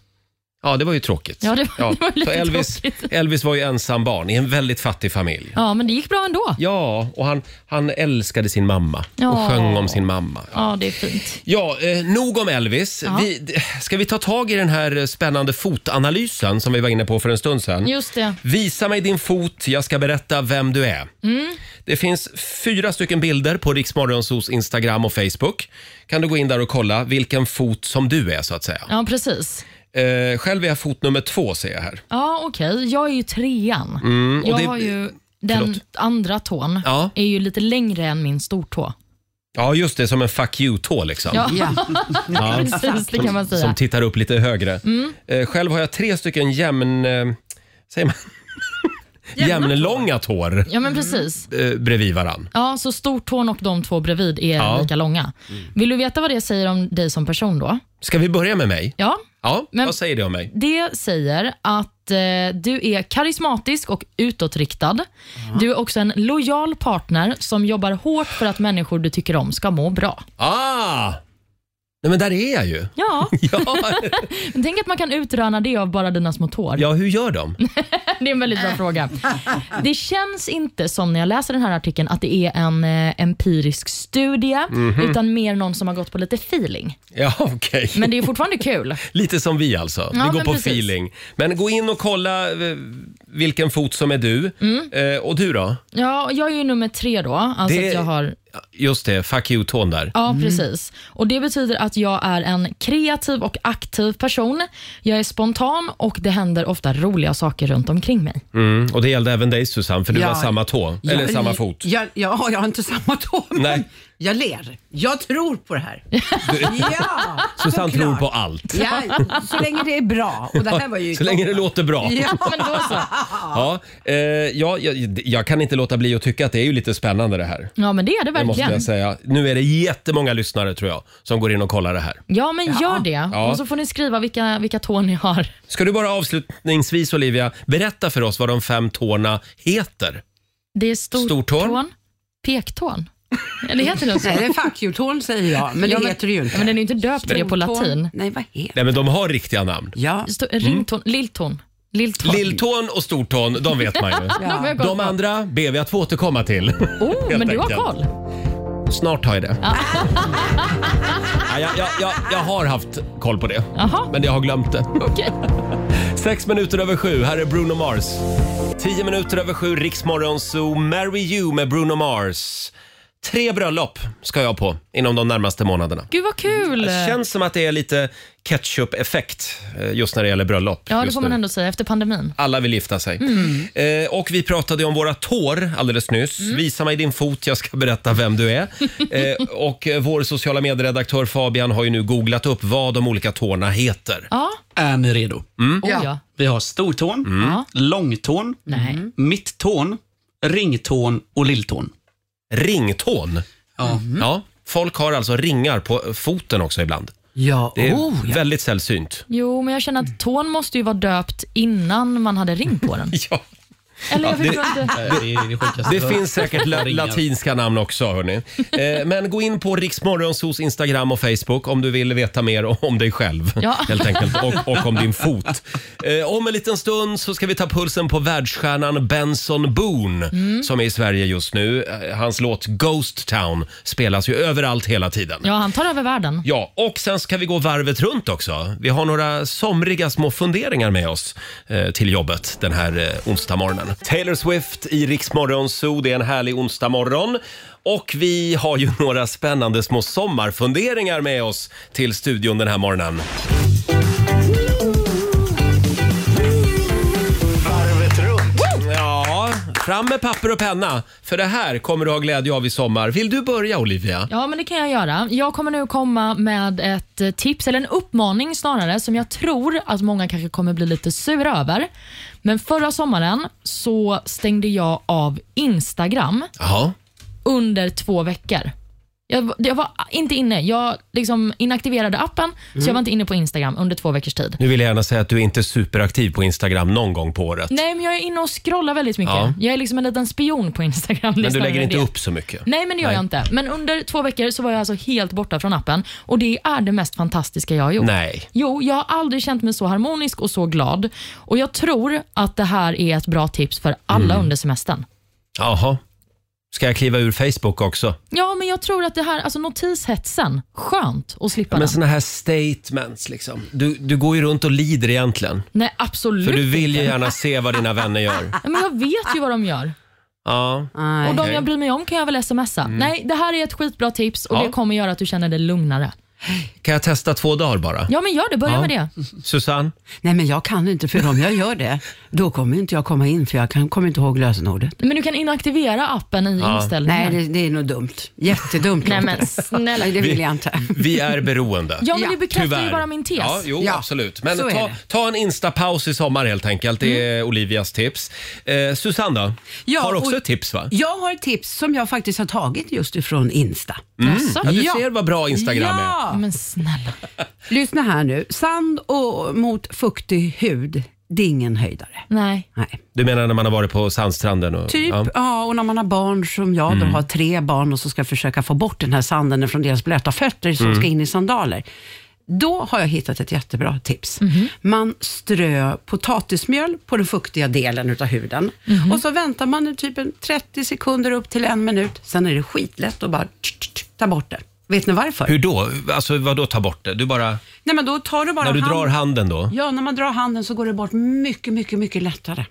Speaker 1: Ja, det var ju tråkigt.
Speaker 2: Ja, det var- det var lite
Speaker 1: Så Elvis,
Speaker 2: tråkigt.
Speaker 1: Elvis var ju ensam barn i en väldigt fattig familj.
Speaker 2: Ja, men det gick bra ändå. Ja,
Speaker 1: Ja, och han, han älskade sin mamma och
Speaker 2: Ja.
Speaker 1: sjöng om sin mamma.
Speaker 2: det är fint.
Speaker 1: Ja, eh, nog om Elvis.
Speaker 2: Ja.
Speaker 1: Vi, d- ska vi ta tag i den här eh, spännande fotanalysen som vi var inne på för en stund sedan?
Speaker 2: Just det.
Speaker 1: Visa mig din fot, jag ska berätta vem du är.
Speaker 2: Mm.
Speaker 1: Det finns fyra stycken bilder på Riksmorgonsos Instagram och Facebook. Kan du gå in där och kolla vilken fot som du är så att säga.
Speaker 2: Ja, precis.
Speaker 1: Eh, själv är jag fot nummer två ser jag här.
Speaker 2: Ja, okej. Jag är ju trean.
Speaker 1: Mm, och
Speaker 2: jag
Speaker 1: det-
Speaker 2: har ju... Den
Speaker 1: Förlåt.
Speaker 2: andra tån
Speaker 1: Ja.
Speaker 2: är ju lite längre än min stortå.
Speaker 1: Ja, just det, som en fuck you-tå liksom.
Speaker 2: Ja, [LAUGHS]
Speaker 4: Ja.
Speaker 2: precis. Det kan man säga. Mm.
Speaker 1: Som tittar upp lite högre. Eh, själv har jag tre stycken jämn... Eh, säger
Speaker 2: [LAUGHS]
Speaker 1: man? Jämnlånga tår
Speaker 2: ja, men precis.
Speaker 1: eh, bredvid varann.
Speaker 2: Ja, så stortån och de två bredvid är
Speaker 1: Ja. Mm.
Speaker 2: lika långa. Vill du veta vad det säger om dig som person då?
Speaker 1: Ska vi börja med mig?
Speaker 2: Ja,
Speaker 1: Ja,
Speaker 2: Men-
Speaker 1: vad säger det om mig?
Speaker 2: Det säger att eh, du är karismatisk och utåtriktad. Du är också en lojal partner som jobbar hårt för att människor du tycker om ska må bra.
Speaker 1: Ah! Nej, men där är jag ju.
Speaker 2: Ja,
Speaker 1: [LAUGHS] Ja,
Speaker 2: men tänk att man kan utröna det av bara dina små tår.
Speaker 1: ja hur gör
Speaker 2: [LAUGHS]
Speaker 1: de?
Speaker 2: Det är
Speaker 1: [LAUGHS]
Speaker 2: en väldigt bra fråga. Det känns inte som när jag läser den här artikeln att det är en eh, empirisk studie,
Speaker 1: Mhm.
Speaker 2: utan mer någon som har gått på lite feeling.
Speaker 1: Ja, okej.
Speaker 2: Men det är fortfarande kul.
Speaker 1: Lite som vi alltså.
Speaker 2: Ja,
Speaker 1: vi går
Speaker 2: men
Speaker 1: på
Speaker 2: precis.
Speaker 1: feeling. Men gå in och kolla eh, vilken fot som är du.
Speaker 2: Mm.
Speaker 1: Eh, och du då?
Speaker 2: Ja, och jag är ju nummer tre då. Alltså
Speaker 1: Det-
Speaker 2: att jag har
Speaker 1: Just det, fuck you-tån där.
Speaker 2: Ja, precis. Och Det betyder att jag är en kreativ och aktiv person. Jag är spontan och det händer ofta roliga saker runt omkring mig.
Speaker 1: Mm. Och det gällde även dig Susanne, för du
Speaker 4: Ja.
Speaker 1: har samma tå. Eller
Speaker 2: [LAUGHS]
Speaker 4: Ja,
Speaker 1: samma fot.
Speaker 4: Ja, ja, jag har inte samma tå. Men
Speaker 1: Nej.
Speaker 4: Jag ler. Jag tror på det här.
Speaker 1: [LAUGHS]
Speaker 4: ja,
Speaker 1: Susanne
Speaker 4: såklart.
Speaker 1: tror på allt.
Speaker 4: Ja, så länge det är bra. Och det här var
Speaker 1: [LAUGHS]
Speaker 4: ju
Speaker 1: Så länge det låter bra. [LAUGHS]
Speaker 4: Ja,
Speaker 2: Men då så.
Speaker 1: [LAUGHS] Ja, eh, ja jag, jag kan inte låta bli att tycka att det är ju lite spännande det här.
Speaker 2: Ja, men det är det
Speaker 1: Det måste
Speaker 2: verkligen.
Speaker 1: jag säga. Nu är det jättemånga lyssnare tror jag som går in och kollar det här.
Speaker 2: Ja, men gör det.
Speaker 1: Ja.
Speaker 2: Och så får ni skriva vilka, vilka tår ni har.
Speaker 1: Ska du bara avslutningsvis Olivia berätta för oss vad de fem tårna heter?
Speaker 2: Det är stor
Speaker 1: Stortån?
Speaker 2: tån, pektån. Eller heter det
Speaker 4: [LAUGHS]
Speaker 2: så?
Speaker 4: Nej, det är fuck you-tån säger jag, men det
Speaker 2: Ja, men-
Speaker 4: heter det ju inte.
Speaker 2: Men den är ju inte döpt till det på latin.
Speaker 4: Nej, vad heter det?
Speaker 1: Nej men de har riktiga namn.
Speaker 4: Ja,
Speaker 2: Stor,
Speaker 1: Mm.
Speaker 2: ringtån, lilltån. Lilltån.
Speaker 1: Lilltån och stortån, de vet man
Speaker 2: [LAUGHS]
Speaker 1: ju.
Speaker 2: De har jag koll
Speaker 1: De
Speaker 2: på.
Speaker 1: andra ber vi att få återkomma till. [LAUGHS]
Speaker 2: Oh, men du har
Speaker 1: enkelt.
Speaker 2: koll.
Speaker 1: Snart har jag det. [LAUGHS] Ja, jag, jag, jag, jag har haft koll på det,
Speaker 2: Jaha.
Speaker 1: men jag har glömt det.
Speaker 2: Okej.
Speaker 1: Sex minuter över sju, här är Bruno Mars. Tio minuter över sju, Riksmorgon Zoo, Marry You med Bruno Mars. Tre bröllop ska jag på inom de närmaste månaderna.
Speaker 2: Gud vad kul.
Speaker 1: Det känns som att det är lite ketchup-effekt eh, just när det gäller bröllop.
Speaker 2: Ja, det
Speaker 1: just
Speaker 2: får man Mm.
Speaker 1: nu.
Speaker 2: ändå säga efter pandemin.
Speaker 1: Alla vill gifta sig.
Speaker 4: Mm.
Speaker 1: Eh, och vi pratade ju om våra tår alldeles nyss.
Speaker 2: Mm.
Speaker 1: Visa mig din fot, jag ska berätta vem du
Speaker 2: [LAUGHS]
Speaker 1: är. Eh, och eh, vår sociala medieredaktör Fabian har ju nu googlat upp vad de olika tårna heter. Mm.
Speaker 2: Ja,
Speaker 8: Är ni redo?
Speaker 2: oh, ja.
Speaker 8: Vi har stortån, långtån,
Speaker 2: Nej.
Speaker 8: mitttån, ringtån och lilltån.
Speaker 1: Ringtån.
Speaker 8: Ja.
Speaker 1: Mm. Ja, folk har alltså ringar på foten också ibland.
Speaker 4: ja.
Speaker 1: Det är
Speaker 4: Oh, ja.
Speaker 1: väldigt sällsynt.
Speaker 2: Jo, men jag känner att tån måste ju vara döpt innan man hade ring på den.
Speaker 1: Ja.
Speaker 2: Eller jag
Speaker 1: det-
Speaker 2: förstår inte.
Speaker 8: Det är det sjukaste.
Speaker 1: Det finns säkert la- latinska namn också. Hörni. Eh, men gå in på Riksmorgonsos Instagram och Facebook om du vill veta mer om dig själv
Speaker 2: Ja.
Speaker 1: helt enkelt, och, och om din fot. Eh, om en liten stund så ska vi ta pulsen på världsstjärnan Benson Boone
Speaker 2: Mm.
Speaker 1: som är i Sverige just nu. Eh, Hans låt Ghost Town spelas ju överallt hela tiden.
Speaker 2: Ja, han tar över världen.
Speaker 1: Ja, och sen ska vi gå varvet runt också. Vi har några somriga små funderingar med oss eh, till jobbet den här eh, onsdag morgonen. Taylor Swift i Riksmorgon Zoo. Det är en härlig onsdag morgon. Och vi har ju [LAUGHS] några spännande små sommarfunderingar med oss till studion den här morgonen.
Speaker 6: Varvet runt.
Speaker 1: Ja, fram med papper och penna, för det här kommer du ha glädje av i sommar. Vill du börja Olivia?
Speaker 2: Ja, men det kan jag göra. Jag kommer nu komma med ett eh, tips, eller en uppmaning snarare, som jag tror att många kanske kommer bli lite sura över. Men förra sommaren så stängde jag av Instagram
Speaker 1: Jaha.
Speaker 2: under två veckor. Jag, jag var inte inne. Jag liksom inaktiverade appen, så jag var inte inne på Instagram under två veckors tid.
Speaker 1: Nu vill jag gärna säga att du är inte superaktiv på Instagram någon gång på året.
Speaker 2: Nej, men jag är inne och scrollar väldigt mycket.
Speaker 1: Ja.
Speaker 2: Jag är liksom en liten spion på Instagram. det är
Speaker 1: Men du
Speaker 2: snarare
Speaker 1: lägger inte
Speaker 2: det.
Speaker 1: upp så mycket.
Speaker 2: Nej, men det gör jag inte. Men under två veckor så var jag alltså helt borta från appen och det är det mest fantastiska jag har gjort.
Speaker 1: Nej.
Speaker 2: Jo, jag har aldrig känt mig så harmonisk och så glad. Och Jag tror att det här är ett bra tips för alla
Speaker 1: Mm.
Speaker 2: under semestern.
Speaker 1: Jaha. Ska jag kliva ur Facebook också?
Speaker 2: Ja, men jag tror att det här, alltså notishetsen, skönt att slippa
Speaker 1: men
Speaker 2: den.
Speaker 1: såna här statements liksom. Du, du går ju runt och lider egentligen.
Speaker 2: Nej, absolut
Speaker 1: För du vill ju
Speaker 2: inte.
Speaker 1: gärna se vad dina vänner
Speaker 4: [LAUGHS]
Speaker 1: gör.
Speaker 2: Ja, Men jag vet ju vad de gör.
Speaker 1: Ja.
Speaker 4: Nej.
Speaker 2: Och
Speaker 1: Okej.
Speaker 2: de jag bryr mig om kan jag väl smsa. Nej, det här är ett skitbra tips och
Speaker 1: Mm. Ja.
Speaker 2: det kommer göra att du känner dig lugnare.
Speaker 1: Kan jag testa två dagar bara?
Speaker 2: Ja, men gör det. Börja
Speaker 1: Ja.
Speaker 2: med det.
Speaker 1: Susanne?
Speaker 4: Nej, men jag kan inte, för om jag gör det, då kommer inte jag komma in, för jag kan, kommer inte ihåg lösenordet.
Speaker 2: Men du kan inaktivera appen i
Speaker 4: Nej,
Speaker 2: inställningar.
Speaker 4: det, det är nog dumt. Jättedumt.
Speaker 2: Nej, men
Speaker 4: snälla. Nej, det vill jag inte.
Speaker 1: Vi är beroende.
Speaker 2: Ja, men
Speaker 4: Ja,
Speaker 2: det bekräftar ju
Speaker 1: Tyvärr.
Speaker 2: bara min tes.
Speaker 1: Ja, jo,
Speaker 4: Ja,
Speaker 1: absolut. Men
Speaker 4: så är
Speaker 1: ta,
Speaker 4: det. Mm.
Speaker 1: ta en instapaus i sommar helt enkelt. Det är Olivias tips. Eh, Susanne då?
Speaker 4: Ja,
Speaker 1: har också
Speaker 4: och-
Speaker 1: ett tips va?
Speaker 4: Jag har ett tips som jag faktiskt har tagit just ifrån Insta.
Speaker 2: Jaså?
Speaker 1: Mm. Ja, du ser vad bra Instagram är.
Speaker 4: ja.
Speaker 2: Men snälla.
Speaker 4: Lyssna här nu. Sand och mot fuktig hud, det är ingen höjdare.
Speaker 2: Nej.
Speaker 4: Nej.
Speaker 1: Du menar när man har varit på sandstranden? Och,
Speaker 4: Typ,
Speaker 1: Ja. Mm.
Speaker 4: ja. och när man har barn som jag, då har tre barn och så ska försöka få bort den här sanden från deras blöta fötter som
Speaker 1: Mm.
Speaker 4: ska in i sandaler. Då har jag hittat ett jättebra tips. Man strö potatismjöl på den fuktiga delen utav huden och så väntar man i typ en 30 sekunder upp till en minut. Sen är det skitlätt att bara tsch, tsch, tsch, ta bort det. Vet ni varför?
Speaker 1: Hur då? Alltså vadå ta bort det? Du bara...
Speaker 4: Nej, men då tar du bara
Speaker 1: När du
Speaker 4: hand-
Speaker 1: drar handen då?
Speaker 4: Ja, när man drar handen så går det bort mycket, mycket, mycket lättare.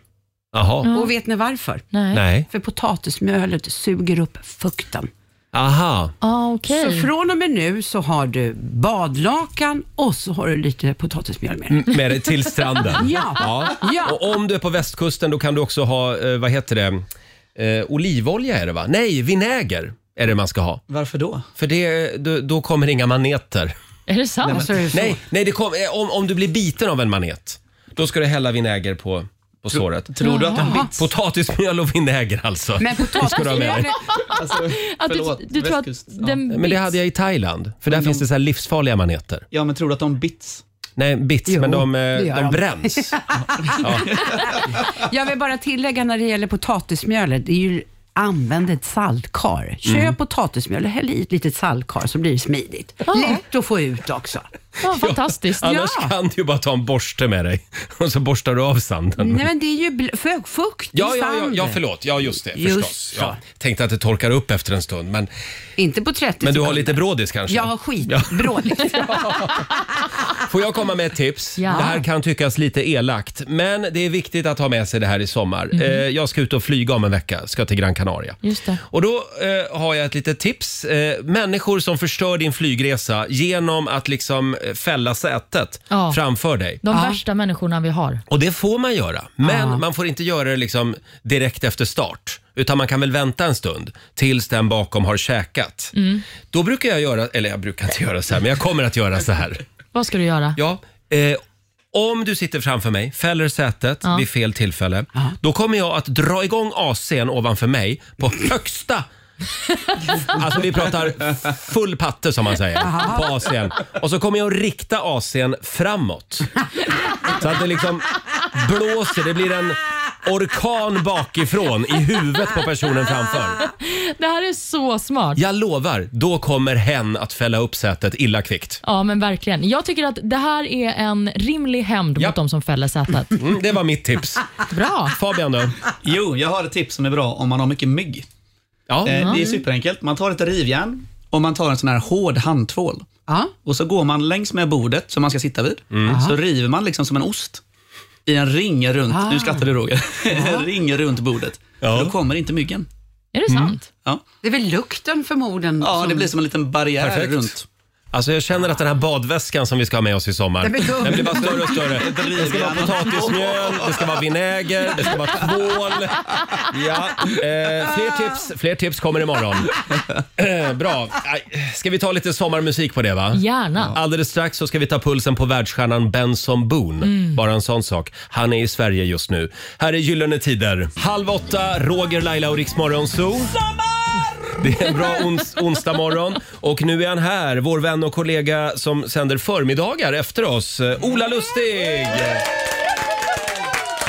Speaker 1: Jaha.
Speaker 4: Och vet ni varför?
Speaker 2: Nej.
Speaker 1: Nej.
Speaker 4: För potatismjölet suger upp fukten.
Speaker 1: Aha.
Speaker 2: Ah, okej.
Speaker 4: Så från och med nu så har du badlakan och så har du lite potatismjöl med dig.
Speaker 1: Mm. Med det till stranden.
Speaker 4: [LAUGHS] Ja. Ja.
Speaker 1: Och om du är på västkusten då kan du också ha, eh, vad heter det, eh, olivolja är det va? Nej, vinäger. är det man ska ha.
Speaker 8: Varför då?
Speaker 1: För det, då, då kommer inga maneter.
Speaker 2: Är det sant?
Speaker 4: Alltså, är det så?
Speaker 1: Nej, nej det kom, eh, om, om du blir biten av en manet, då ska du hälla vinäger på, på såret.
Speaker 8: Tror du att den
Speaker 2: Jaha.
Speaker 8: bits?
Speaker 1: Potatismjöl och vinäger alltså.
Speaker 4: Men
Speaker 1: ska du ha med dig.
Speaker 4: [LAUGHS] potatismjölet,
Speaker 8: Alltså,
Speaker 2: att
Speaker 8: förlåt,
Speaker 2: du, du tror att
Speaker 8: västkust. Ja.
Speaker 2: den
Speaker 1: Men det
Speaker 2: bits?
Speaker 1: hade jag i Thailand, för där finns det så här livsfarliga maneter.
Speaker 8: ja, men tror du att de bits?
Speaker 1: Nej, bits,
Speaker 4: Jo,
Speaker 1: men de, eh,
Speaker 4: det gör
Speaker 1: de
Speaker 4: de.
Speaker 1: bränns.
Speaker 4: jag vill bara tillägga när det gäller potatismjölet, det är ju använd ett saltkar. Köp
Speaker 1: Mm.
Speaker 4: potatismjöl och häll i ett litet saltkar så blir det smidigt. Lätt att få ut också.
Speaker 2: Ja, fantastiskt.
Speaker 1: Annars
Speaker 4: Ja.
Speaker 1: kan du ju bara ta en borste med dig [LAUGHS] och så borstar du av sanden.
Speaker 4: Nej men det är ju bl- fö- fukt i
Speaker 1: Ja, ja, ja,
Speaker 4: sand.
Speaker 1: ja, förlåt. Ja, just det.
Speaker 4: Just
Speaker 1: förstås.
Speaker 4: så.
Speaker 1: Ja. Tänkte att det torkar upp efter en stund, men,
Speaker 4: Inte på 30
Speaker 1: men du har
Speaker 4: sekunder.
Speaker 1: lite brådis kanske?
Speaker 4: Jag har skitbrådigt. [LAUGHS]
Speaker 1: Får jag komma med ett tips?
Speaker 2: Ja.
Speaker 1: Det här kan tyckas lite elakt, men det är viktigt att ha med sig det här i sommar. Eh, jag ska ut och flyga om en vecka, ska till Gran Canaria.
Speaker 2: Just det.
Speaker 1: Och då eh, har jag ett litet tips. Eh, människor som förstör din flygresa genom att liksom eh, fälla sätet
Speaker 2: Ja.
Speaker 1: framför dig.
Speaker 2: De värsta människorna vi har.
Speaker 1: Och det får man göra, men man får inte göra det liksom direkt efter start. Utan man kan väl vänta en stund tills den bakom har käkat.
Speaker 2: Mm.
Speaker 1: Då brukar jag göra, eller jag brukar inte göra så här, men jag kommer att göra så här.
Speaker 2: Vad ska du göra?
Speaker 4: [LAUGHS]
Speaker 1: Ja, eh, om du sitter framför mig, fäller sätet
Speaker 2: Ja.
Speaker 1: vid fel tillfälle, då kommer jag att dra igång AC'n ovanför mig på högsta Alltså vi pratar full patte som man säger på AC'n. Och så kommer jag att rikta AC'n framåt. Så att det liksom blåser, det blir en orkan bakifrån i huvudet på personen framför.
Speaker 2: Det här är så smart.
Speaker 1: Jag lovar, då kommer hen att fälla upp sätet illa kvickt.
Speaker 2: Ja, men verkligen. Jag tycker att det här är en rimlig hämnd
Speaker 1: Ja.
Speaker 2: mot de som fäller sätet.
Speaker 1: Mm, det var mitt tips.
Speaker 2: Bra.
Speaker 1: Fabian då?
Speaker 8: Jo, jag har ett tips som är bra om man har mycket mygg.
Speaker 1: Ja.
Speaker 8: Eh,
Speaker 4: Mm.
Speaker 8: Det är superenkelt. Man tar ett rivjärn och man tar en sån här hård handtvål.
Speaker 4: ja.
Speaker 8: Och så går man längs med bordet som man ska sitta vid.
Speaker 1: Mm.
Speaker 8: Så river man liksom som en ost i en ring runt,
Speaker 4: Ah.
Speaker 8: nu skrattar du Roger, [LAUGHS] en ring runt bordet.
Speaker 1: Ja.
Speaker 8: Då kommer inte myggen.
Speaker 2: Är
Speaker 1: Mm.
Speaker 2: det sant?
Speaker 8: Ja,
Speaker 4: Det är väl lukten förmodligen.
Speaker 8: ja
Speaker 4: som-
Speaker 8: det blir som en liten barriär
Speaker 1: Perfekt.
Speaker 8: runt.
Speaker 1: Alltså jag känner att den här badväskan som vi ska ha med oss i sommar,
Speaker 4: Den blir dum.
Speaker 1: den blir bara större och större.
Speaker 8: driver
Speaker 1: Det ska vara
Speaker 8: gärna.
Speaker 1: potatismjöl, det ska vara vinäger, det ska vara tvål. Ja, eh, fler, tips, fler tips kommer imorgon. Eh, bra. Aj, Ska vi ta lite sommarmusik på det va?
Speaker 2: Gärna.
Speaker 1: Alldeles strax så ska vi ta pulsen på världsstjärnan Benson Boone. Bara en sån sak. Han är i Sverige just nu. Här är Gyllene Tider. Halv åtta, Roger, Laila och Riksmorgon Zoo. Det är en bra ons onsdag morgon. Och nu är han här, vår vän och kollega som sänder förmiddagar efter oss, eh, Ola Lustig!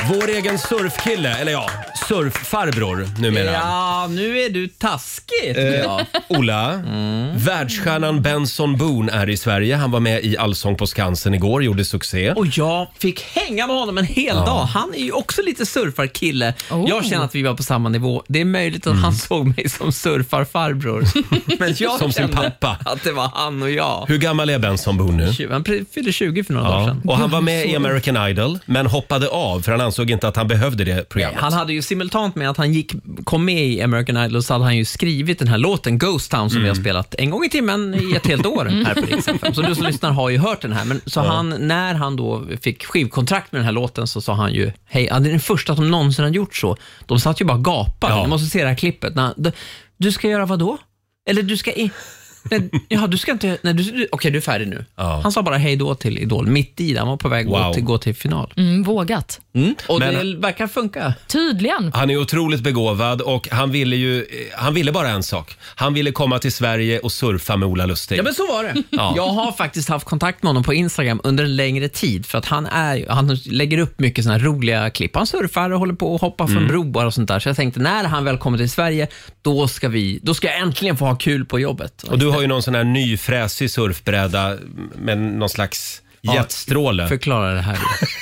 Speaker 1: Vår egen surfkille, eller ja, surffarbror numera.
Speaker 3: Ja, nu är du
Speaker 1: Eh.
Speaker 3: taskig. tycker jag.
Speaker 1: Ola,
Speaker 3: Mm.
Speaker 1: världsstjärnan Benson Boone är i Sverige. Han var med i Allsång på Skansen igår, gjorde succé.
Speaker 3: Och jag fick hänga med honom en hel dag. Han är ju också lite surfarkille.
Speaker 2: Oh.
Speaker 3: Jag känner att vi var på samma nivå. Det är möjligt att han såg mig som
Speaker 1: [LAUGHS]
Speaker 3: surfarfarbror. Men jag
Speaker 1: Mm. Som sin
Speaker 3: kände
Speaker 1: pappa.
Speaker 3: att det var han och jag.
Speaker 1: Hur gammal är Benson Boone nu?
Speaker 3: Tju- Han pre- fyllde 20 för några dagar
Speaker 1: Ja.
Speaker 3: sedan.
Speaker 1: Och han var med i American Idol, men hoppade av för han ansåg inte att han behövde det programmet.
Speaker 3: Han hade ju simultant med att han gick, kom med i American Idol så hade han ju skrivit den här låten Ghost Town som vi har
Speaker 1: Mm.
Speaker 3: spelat en gång i timmen i ett helt år här på Rix FM. Så du som lyssnar har ju hört den här. Men så han, när han då fick skivkontrakt med den här låten så sa han ju hej, ja, det är den första som någonsin har gjort så. De satt ju bara och gapade.
Speaker 1: Ja.
Speaker 3: Ni måste se det här klippet. När han, "Du- du ska göra vad då? Eller du ska... I, nej, jaha, du ska inte... Nej, du, du, okej, du är färdig nu.
Speaker 1: Ja.
Speaker 3: Han sa bara hej då till Idol mitt i. Han var på väg att
Speaker 1: Wow.
Speaker 3: gå, till, gå till final.
Speaker 2: Mm, vågat.
Speaker 3: Och
Speaker 1: Men-
Speaker 3: det verkar funka.
Speaker 2: Tydligen.
Speaker 1: Han är otroligt begåvad och han ville ju, eh, han ville bara en sak. Han ville komma till Sverige och surfa med Ola Lustig.
Speaker 3: Ja, men så var det. Jag har faktiskt haft kontakt med honom på Instagram under en längre tid för att han, är, ju- han lägger upp mycket såna här roliga klipp. Han surfar och håller på och hoppar från
Speaker 1: Mm.
Speaker 3: broar och sånt där. Så jag tänkte när han väl kommer till Sverige, då ska, vi, då ska jag äntligen få ha kul på jobbet.
Speaker 1: Och du har ju någon sån här nyfräsig surfbräda med någon slags jetstråle.
Speaker 3: Förklara det här.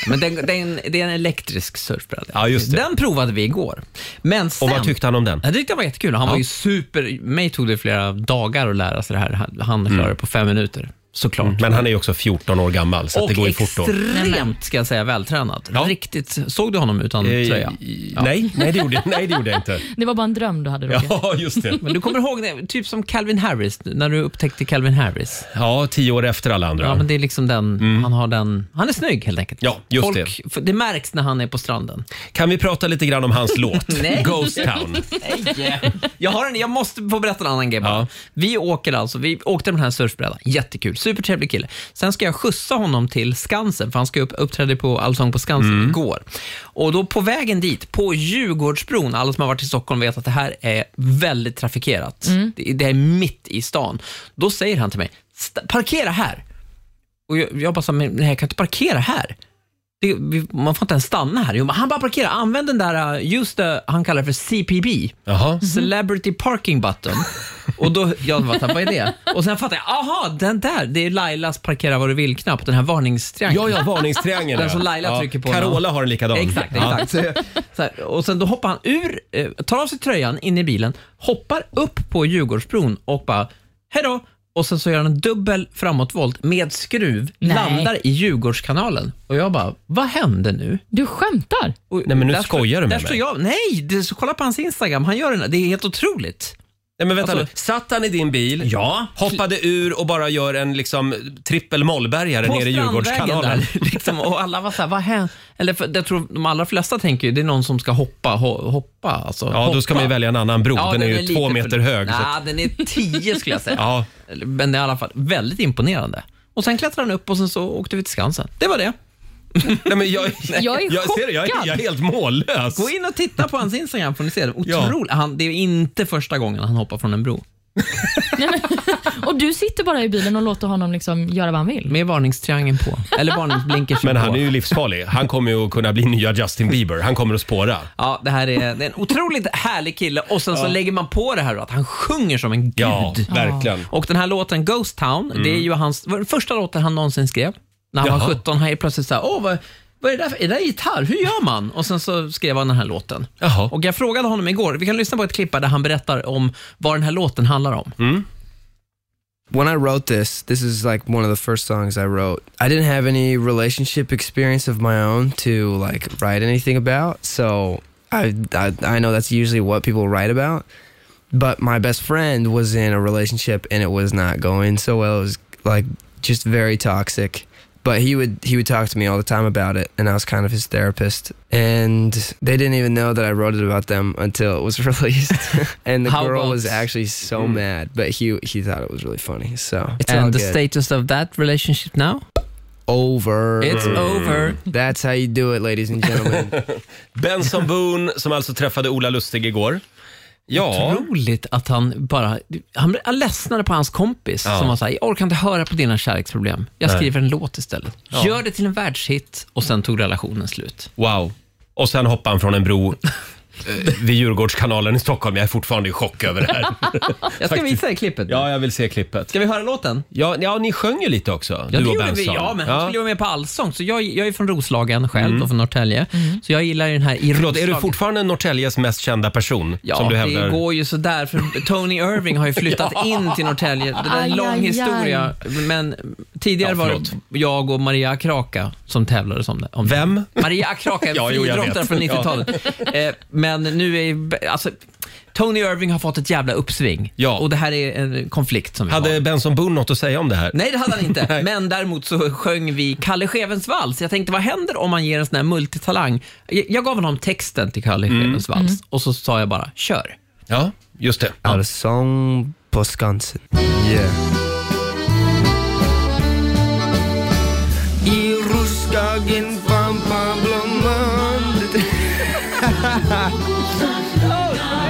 Speaker 3: Men den, den, det är en elektrisk surfbräda.
Speaker 1: Ja, just det.
Speaker 3: Den provade vi igår. Men sen,
Speaker 1: Och vad tyckte han om den?
Speaker 3: Jag tyckte det var jättekul. Han var ju super... Mig tog det flera dagar att lära sig det här. Han- Han klarade det på fem minuter. såklart.
Speaker 1: Mm. Men han är ju också 14 år gammal så att
Speaker 3: Och
Speaker 1: det går ju fort då.
Speaker 3: extremt, ska jag säga, vältränad. Riktigt. Såg du honom utan
Speaker 1: Eh,
Speaker 3: tröja? Ja.
Speaker 1: Nej, nej, det gjorde, nej, det gjorde
Speaker 3: [LAUGHS]
Speaker 1: jag inte.
Speaker 2: Det var bara en dröm du hade, Roger.
Speaker 1: Ja, just det.
Speaker 3: Men du kommer ihåg, det, typ som Calvin Harris, när du upptäckte Calvin Harris.
Speaker 1: Ja, tio år efter alla andra. Mm.
Speaker 3: Ja, men det är liksom den, han har den, han är snygg helt enkelt.
Speaker 1: Ja, just
Speaker 3: Folk, det. Det märks när han är på stranden.
Speaker 1: Kan vi prata lite grann
Speaker 3: [LAUGHS]
Speaker 1: om hans låt,
Speaker 3: Nej.
Speaker 1: Ghost Town?
Speaker 3: Jag, har en, jag måste få berätta en annan grej bara.
Speaker 1: Ja.
Speaker 3: Vi åker alltså, vi åkte med den här surfbrädan, jättekul, supertrevlig kille. Sen ska jag skjutsa honom till Skansen, för han ska upp, uppträda på Allsång på Skansen igår. Och då på vägen dit, på Djurgårdsbron, alla som har varit i Stockholm vet att det här är väldigt trafikerat. Det, det är mitt i stan. Då säger han till mig, "Sta- parkera här. Och jag, jag bara sa, men nej, jag kan inte parkera här. Det, vi, man får inte ens stanna här. Jo, men han bara parkerar, använd den där, uh, just det, han kallar det för CPB.
Speaker 1: Jaha.
Speaker 3: Mm-hmm. Celebrity Parking Button. Och då, jag bara, vad är det? Och sen fattade jag, aha, den där, det är Lailas parkera var du vill-knapp, den här varningstriangeln.
Speaker 1: Ja, ja, varningstriangeln.
Speaker 3: Den
Speaker 1: ja.
Speaker 3: som Laila
Speaker 1: ja.
Speaker 3: trycker på.
Speaker 1: Carola har en likadan.
Speaker 3: Exakt, exakt. Så, jag- så här, och sen då hoppar han ur, eh, tar av sig tröjan in i bilen, hoppar upp på Djurgårdsbron och bara, hejdå! Och sen så gör han en dubbel framåtvolt med skruv,
Speaker 2: Nej.
Speaker 3: landar i Djurgårdskanalen. Och jag bara, vad hände nu?
Speaker 2: Du skämtar?
Speaker 3: Och,
Speaker 1: Nej, men nu
Speaker 3: där står-
Speaker 1: skojar du med
Speaker 3: där står
Speaker 1: mig.
Speaker 3: jag, Nej, det, så kolla på hans Instagram. Han gör den här- Det är helt otroligt.
Speaker 1: Nej, men vänta
Speaker 3: Alltså-
Speaker 1: nu. Satt han i din bil,
Speaker 3: Ja.
Speaker 1: hoppade ur och bara gör en liksom, trippel mollbergare
Speaker 3: på
Speaker 1: nere i Djurgårdskanalen?
Speaker 3: Strandvägen Där, [LAUGHS] liksom, och alla var såhär, vad händer? Eller för, jag tror de allra flesta tänker ju, det är någon som ska hoppa. Ho, hoppa alltså,
Speaker 1: Ja,
Speaker 3: hoppa.
Speaker 1: då ska man ju välja en annan bro.
Speaker 3: Ja,
Speaker 1: den, är ju
Speaker 3: lite
Speaker 1: två
Speaker 3: för-
Speaker 1: meter hög. Så.
Speaker 3: Nej,
Speaker 1: att-
Speaker 3: den är tio skulle jag säga.
Speaker 1: [LAUGHS] Ja.
Speaker 3: Eller, Men det är i alla fall väldigt imponerande. Och sen klättrade han upp och sen så åkte vi till Skansen. Det var det.
Speaker 1: [LAUGHS] Nej,
Speaker 3: [LAUGHS]
Speaker 1: men jag,
Speaker 2: Jag är
Speaker 1: ser det, jag, är,
Speaker 2: chockad.
Speaker 1: jag är helt mållös.
Speaker 3: Gå in och titta på hans Instagram får ni se. det.
Speaker 1: Ja.
Speaker 3: Otroligt. Han, det är inte första gången han hoppar från en bro.
Speaker 2: Nej, men, och du sitter bara i bilen och låter honom liksom göra vad han vill?
Speaker 3: Med varningstriangeln på. Eller varningsblinkers
Speaker 1: Men
Speaker 3: på.
Speaker 1: han är ju livsfarlig. Han kommer ju att kunna bli nya Justin Bieber. Han kommer att spåra.
Speaker 3: Ja, det här är, det är en otroligt härlig kille och sen så lägger man på det här då, att han sjunger som en gud.
Speaker 1: Ja, verkligen. Mm.
Speaker 3: Och den här låten Ghost Town, det är ju hans var den första låten han någonsin skrev. När han
Speaker 1: Jaha.
Speaker 3: var 17, han är plötsligt såhär, åh vad, vad är det där för, är det där gitarr? Hur gör man? Och sen så skrev han den här låten.
Speaker 1: Jaha.
Speaker 3: Och jag frågade honom igår, vi kan lyssna på ett klipp här där han berättar om vad den här låten handlar om.
Speaker 1: Mm.
Speaker 10: when I wrote this, this is like one of the first songs I wrote. I didn't have any relationship experience of my own to like write anything about, so I I, I know that's usually what people write about. But my best friend was in a relationship and it was not going so well. It was like just very toxic. But he would he would talk to me all the time about it, and I was kind of his therapist. And they didn't even know that I wrote it about them until it was [LAUGHS] released. and the
Speaker 3: How
Speaker 10: girl
Speaker 3: about-
Speaker 10: was actually so mad, but he he thought it was really funny. So it's all
Speaker 3: And the
Speaker 10: good.
Speaker 3: status of that relationship now?
Speaker 10: over.
Speaker 3: It's over.
Speaker 10: That's how you do it, ladies and gentlemen.
Speaker 1: Benson Boone, som alltså träffade Ola Lustig igår. Ja,
Speaker 3: Otroligt att han bara... Han, han ledsnade på hans kompis
Speaker 1: Ja.
Speaker 3: som var såhär, jag orkar inte höra på dina kärleksproblem. Jag skriver en låt istället. Gör det till en världshit och sen tog relationen slut.
Speaker 1: wow. Och sen hoppade han från en bro eh, vid Djurgårdskanalen i Stockholm. Jag är fortfarande i chock över det här.
Speaker 3: [LAUGHS] Jag ska
Speaker 1: Faktiskt.
Speaker 3: visa dig klippet.
Speaker 1: Ja, jag vill se klippet.
Speaker 3: Ska vi höra låten?
Speaker 1: Ja, ja ni sjöng ju lite också,
Speaker 3: Ja,
Speaker 1: du
Speaker 3: det
Speaker 1: och
Speaker 3: gjorde
Speaker 1: Benson.
Speaker 3: vi. Ja, men han skulle ju vara med på Allsång. Så jag, jag är från Roslagen själv och från Norrtälje.
Speaker 2: Mm.
Speaker 3: Så jag gillar ju den här i
Speaker 1: Mm. Förlåt, är du
Speaker 3: Roslagen.
Speaker 1: fortfarande Norrtäljes mest kända person?
Speaker 3: Ja,
Speaker 1: som du hävdar?
Speaker 3: det går ju sådär för Tony Irving har ju
Speaker 2: [LAUGHS]
Speaker 3: flyttat in till Norrtälje. Det är
Speaker 2: Aj,
Speaker 3: en lång
Speaker 2: aj, aj.
Speaker 3: historia. Men tidigare
Speaker 1: Ja,
Speaker 3: var
Speaker 1: förlåt.
Speaker 3: det jag och Maria Kraka som tävlade om det. Om det.
Speaker 1: Vem?
Speaker 3: Maria Akraka,
Speaker 1: [LAUGHS] Ja,
Speaker 3: ja,
Speaker 1: jo, jag
Speaker 3: friidrottare
Speaker 1: vet.
Speaker 3: från 90-talet. Eh, Men nu är alltså, Tony Irving har fått ett jävla uppsving
Speaker 1: Ja.
Speaker 3: och det här är en konflikt som vi
Speaker 1: Hade
Speaker 3: har.
Speaker 1: Benson Boone något att säga om det här?
Speaker 3: Nej, det hade han
Speaker 1: [LAUGHS]
Speaker 3: inte. Men däremot så sjöng vi Kalle Schewens vals. Jag tänkte, vad händer om man ger en sån här multitalang? Jag jag gav honom texten till Kalle Schewens vals och så sa jag bara, kör.
Speaker 1: Mm. Ja, [LAUGHS] just det.
Speaker 10: Out of song på Skansen. Yeah. I Roslagen pampan
Speaker 3: [LAUGHS]
Speaker 10: blomman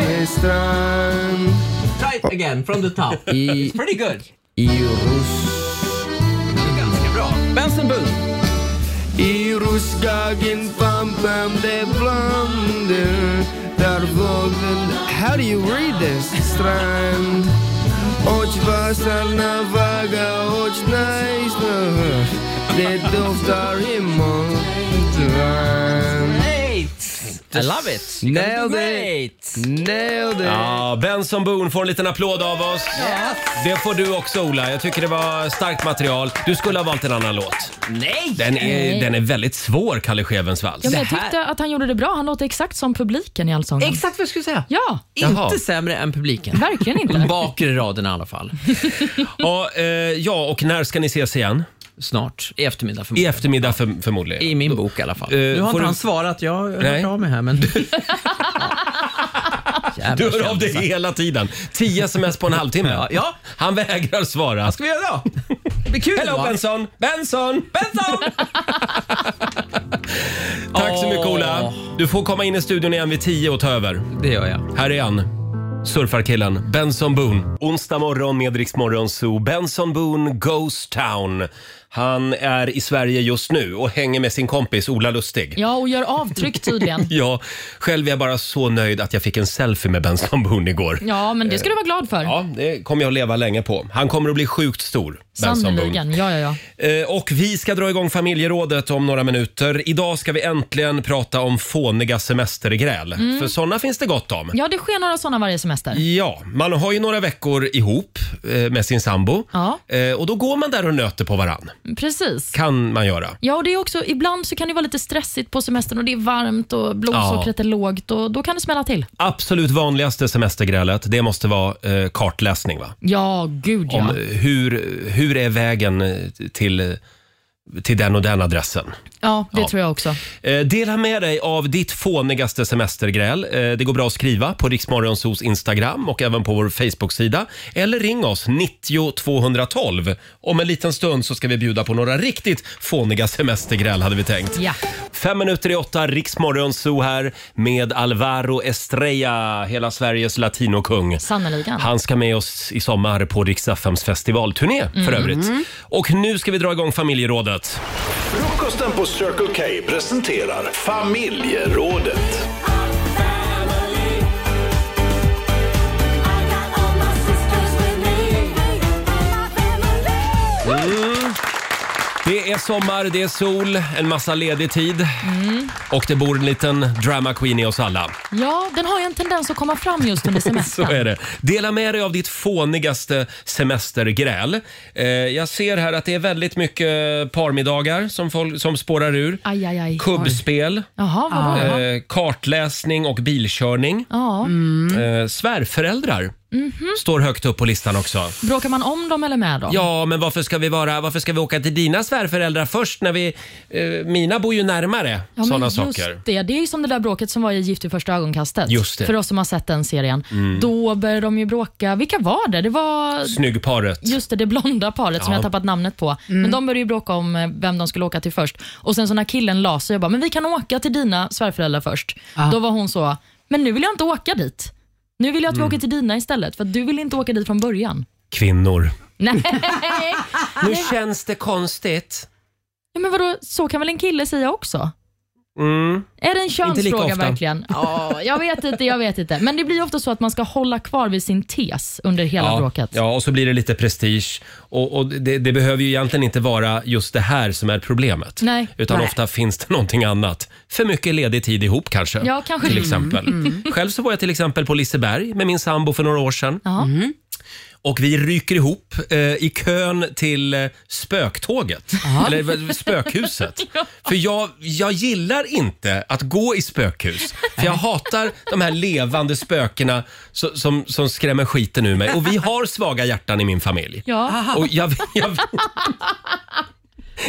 Speaker 10: Med strand
Speaker 3: Try it again from the top.
Speaker 10: I,
Speaker 3: It's pretty good.
Speaker 10: i Rus...
Speaker 3: Det är ganska bra. Benson Boone.
Speaker 10: I Roslagen pampan det blonder Där vågen... How do you read this? Strand Och vassarna vaga och najsna Det doftar i molntran
Speaker 3: Eight.
Speaker 1: I love it!
Speaker 10: Nailed it! Nailed it!
Speaker 1: Ja, Benson Boone får en liten applåd av oss. Det får du också Ola. Jag tycker det var starkt material. Du skulle ha valt en annan låt.
Speaker 3: Nej!
Speaker 1: Den är,
Speaker 2: Nej.
Speaker 1: den är väldigt svår, Kalle Schewens vals.
Speaker 2: Ja, men jag tyckte att han gjorde det bra. Han låter exakt som publiken i Allsången.
Speaker 3: Exakt vad jag skulle säga.
Speaker 2: Ja,
Speaker 3: Inte sämre än publiken.
Speaker 2: verkligen
Speaker 3: De
Speaker 1: [LAUGHS]
Speaker 2: inte.
Speaker 3: bakre raderna i alla fall.
Speaker 1: Ja, eh, ja, och när ska ni ses igen?
Speaker 3: Snart, i eftermiddag
Speaker 1: I
Speaker 3: förmodligen.
Speaker 1: eftermiddag för, förmodligen.
Speaker 3: I min bok i alla fall.
Speaker 1: Eh,
Speaker 3: nu har
Speaker 1: får
Speaker 3: inte han
Speaker 1: du-
Speaker 3: svarat. Jag har
Speaker 1: Nej.
Speaker 3: hört av mig här,
Speaker 1: [LAUGHS]
Speaker 3: men...
Speaker 1: Du
Speaker 3: Jävla
Speaker 1: hör av dig
Speaker 3: kändisar.
Speaker 1: hela tiden. 10 sms på en halvtimme.
Speaker 3: Ja, ja.
Speaker 1: Han vägrar svara.
Speaker 3: Vad ska vi göra då? Det blir kul
Speaker 1: Hello
Speaker 3: va?
Speaker 1: Benson! Benson! Benson! Tack så mycket Ola. Du får komma in i studion igen vid 10 och ta över.
Speaker 3: Det gör jag.
Speaker 1: Här är han. Surfarkillen Benson Boone. Onsdag morgon med Rix Morgon Zoo. Benson Boone Ghost Town. Han är i Sverige just nu och hänger med sin kompis Ola Lustig.
Speaker 2: Ja, och gör avtryck tydligen.
Speaker 1: [LAUGHS] Ja, själv är jag bara så nöjd att jag fick en selfie med Benson Boone igår.
Speaker 2: Ja, men det ska du vara glad för.
Speaker 1: Ja, det kommer jag att leva länge på. Han kommer att bli sjukt stor, Benson Boone.
Speaker 2: Sannerligen. Ja, ja, ja.
Speaker 1: Eh, Och vi ska dra igång familjerådet om några minuter. Idag ska vi äntligen prata om fåniga semestergräl. För sådana finns det gott om.
Speaker 2: Mm. Ja, det sker några sådana varje semester.
Speaker 1: Ja, man har ju några veckor ihop eh, med sin sambo.
Speaker 2: Ja.
Speaker 1: Eh, Och då går man där och nöter på varann.
Speaker 2: Precis.
Speaker 1: Kan man göra.
Speaker 2: Ja, och det är också, ibland så kan det vara lite stressigt på semestern och det är varmt och blodsockret är lågt och då kan det smälla till.
Speaker 1: Absolut vanligaste semestergrälet, det måste vara eh, kartläsning va?
Speaker 2: Ja, gud ja.
Speaker 1: Om eh, hur, hur är vägen eh, till, till den och den adressen?
Speaker 2: Ja, det
Speaker 1: Ja.
Speaker 2: tror jag också.
Speaker 1: Eh, Dela med dig av ditt fånigaste semestergräl. Eh, Det går bra att skriva på Riksmorgonsos Instagram och även på vår Facebook-sida. Eller ring oss, 90 212. Om en liten stund så ska vi bjuda på några riktigt fåniga semestergräl hade vi tänkt.
Speaker 2: Ja.
Speaker 1: Fem minuter i åtta, Riksmorgonso här med Alvaro Estrella, hela Sveriges latinokung.
Speaker 2: Sannerligen.
Speaker 1: Han ska med oss i sommar på Rix FMs festivalturné för övrigt. Och nu ska vi dra igång familjerådet.
Speaker 6: Frukosten på Circle K presenterar Familjerådet.
Speaker 1: Det är sommar, det är sol, en massa ledig tid och det bor en liten drama queen i oss alla. [LAUGHS]
Speaker 2: Ja, den har ju en tendens att komma fram just under
Speaker 1: Så
Speaker 2: semestern.
Speaker 1: är det. Dela med dig av ditt fånigaste semestergräl. Eh, jag ser här att det är väldigt mycket parmiddagar som, folk, som spårar ur.
Speaker 2: Aj, aj, aj.
Speaker 1: Kubbspel,
Speaker 2: Jaha, vad bra.
Speaker 1: eh, kartläsning och bilkörning.
Speaker 2: Ja. Mm. Mhm.
Speaker 1: Eh, svärföräldrar står högt upp på listan också.
Speaker 2: Bråkar man om dem eller med dem?
Speaker 1: Ja, men varför ska vi, vara, varför ska vi åka till dina svärföräldrar först när vi... Eh, mina bor ju närmare.
Speaker 2: Ja, men
Speaker 1: sådana
Speaker 2: just
Speaker 1: saker.
Speaker 2: Det. det är ju som det där bråket som var i Gift i första ögonkastet.
Speaker 1: Just det. Mm.
Speaker 2: För oss som har sett den serien. Då började de ju bråka. Vilka var det? Det var
Speaker 1: Snyggparet.
Speaker 2: just det, det blonda paret som
Speaker 1: Ja.
Speaker 2: jag har tappat namnet på. Men de började ju bråka om eh, vem de skulle åka till först. Och sen så när killen la sig, jag bara, men vi kan åka till dina svärföräldrar först. Då var hon så, men nu vill jag inte åka dit. Nu vill jag att
Speaker 1: Mm.
Speaker 2: vi åker till dina istället, för att du vill inte åka dit från början. [LAUGHS]
Speaker 1: Kvinnor.
Speaker 2: Nej,
Speaker 1: Nu känns det konstigt.
Speaker 2: ja, men vadå, så kan väl en kille säga också?
Speaker 1: Mm.
Speaker 2: Är det en
Speaker 1: Inte lika
Speaker 2: könsfråga
Speaker 1: ofta.
Speaker 2: verkligen?
Speaker 1: [LAUGHS]
Speaker 2: Ja, jag vet inte, jag vet inte. Men det blir ofta så att man ska hålla kvar vid sin tes under hela
Speaker 1: Ja,
Speaker 2: bråket.
Speaker 1: ja, och så blir det lite prestige. Och, och det, det behöver ju egentligen inte vara just det här som är problemet.
Speaker 2: Nej.
Speaker 1: Utan
Speaker 2: Nej.
Speaker 1: ofta finns det någonting annat. För mycket ledig tid ihop kanske.
Speaker 2: Ja, kanske Mm.
Speaker 1: Till
Speaker 2: det.
Speaker 1: exempel. Själv så var jag till exempel på Liseberg med min sambo för några år sedan. Mm.
Speaker 2: Ja.
Speaker 1: Och vi ryker ihop eh, i kön till eh, spöktåget. [LAUGHS] Eller eh,
Speaker 2: [LAUGHS]
Speaker 1: spökhuset. För jag, jag gillar inte att gå i spökhus. För jag hatar de här levande spökena so- som, som skrämmer skiten ur mig. Och vi har svaga hjärtan i min familj.
Speaker 2: Ja.
Speaker 1: Och jag, jag,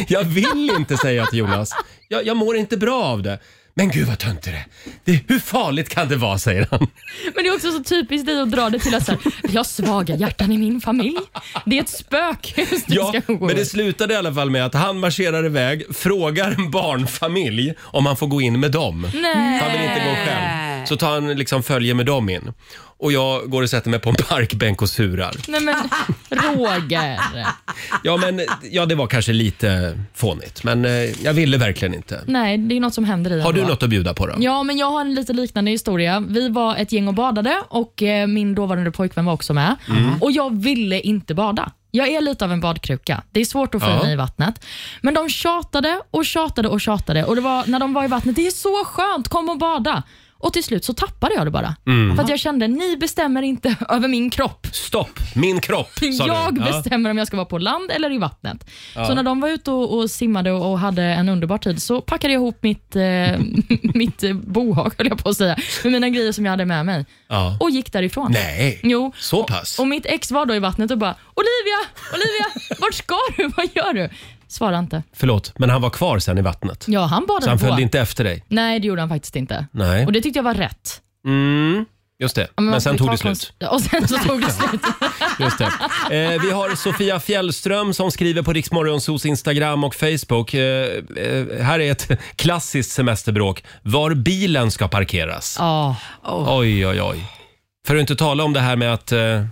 Speaker 1: jag vill inte säga till Jonas. Jag, jag mår inte bra av det. Men gud vad töntigt det är. Det- Hur farligt kan det vara, säger han.
Speaker 2: Men [LAUGHS] det är också så typiskt dig att dra det till att så här, vi har svaga hjärtan i min familj. Det är ett spökhus du
Speaker 1: Ja,
Speaker 2: ska gå
Speaker 1: men det
Speaker 2: i.
Speaker 1: slutade i alla fall med att han marscherar iväg, frågar en barnfamilj om han får gå in med dem.
Speaker 2: Nej.
Speaker 1: Han vill inte gå
Speaker 2: Äh.
Speaker 1: själv. Så tar han liksom följe med dem in. Och jag går och sätter mig på en parkbänk och surar.
Speaker 2: Nej men Roger.
Speaker 1: Ja, men, ja det var kanske lite fånigt, men eh, jag ville verkligen inte.
Speaker 2: Nej, det är något som händer i
Speaker 1: Har du
Speaker 2: ändå.
Speaker 1: något att bjuda på då?
Speaker 2: Ja, men jag har en lite liknande historia. Vi var
Speaker 1: Mm.
Speaker 2: ett gäng och badade och eh, min dåvarande pojkvän var också med. Och jag ville inte bada. Jag är lite av en badkruka. Det är svårt att få
Speaker 11: Ja.
Speaker 2: i mig i vattnet. Men de tjatade och tjatade och tjatade. Och det var när de var i vattnet, det är så skönt, kom och bada. Och till slut så tappade jag det bara.
Speaker 1: Mm.
Speaker 2: För att jag kände, ni bestämmer inte [LAUGHS] över min kropp.
Speaker 1: Stopp! Min kropp, sa
Speaker 2: Jag
Speaker 1: du. Ja.
Speaker 2: bestämmer om jag ska vara på land eller i vattnet.
Speaker 1: Ja.
Speaker 2: Så när de var ute och, och simmade och, och hade en underbar tid så packade jag ihop mitt, eh, [LAUGHS] mitt eh, bohag, höll jag på att säga, med mina grejer som jag hade med mig
Speaker 1: Ja.
Speaker 2: och gick därifrån.
Speaker 1: Nej, Alltså.
Speaker 2: Jo.
Speaker 1: så pass?
Speaker 2: Och mitt ex var då i vattnet och bara “Olivia, Olivia, vart ska du? Vad gör du?” Svara inte.
Speaker 1: Förlåt, men han var kvar sen i vattnet.
Speaker 2: Ja, han badade
Speaker 1: Så han
Speaker 2: på.
Speaker 1: följde inte efter dig?
Speaker 2: Nej, det gjorde han faktiskt inte.
Speaker 1: Nej.
Speaker 2: Och det tyckte jag var rätt.
Speaker 1: Mm, just det.
Speaker 2: Ja,
Speaker 1: Men,
Speaker 2: man får
Speaker 1: sen
Speaker 2: ju
Speaker 1: tog
Speaker 2: ta
Speaker 1: det
Speaker 2: kons-
Speaker 1: slut.
Speaker 2: Ja, [LAUGHS] Och sen så tog det
Speaker 1: [LAUGHS]
Speaker 2: slut. [LAUGHS]
Speaker 1: Just det. Eh, vi har Sofia Fjällström som skriver på Riksmorgonsos Instagram och Facebook. Eh, eh, här är ett [LAUGHS] klassiskt semesterbråk. Var bilen ska parkeras.
Speaker 2: Ja.
Speaker 1: Oj, oj, oj. För att inte tala om det här med att eh, eh,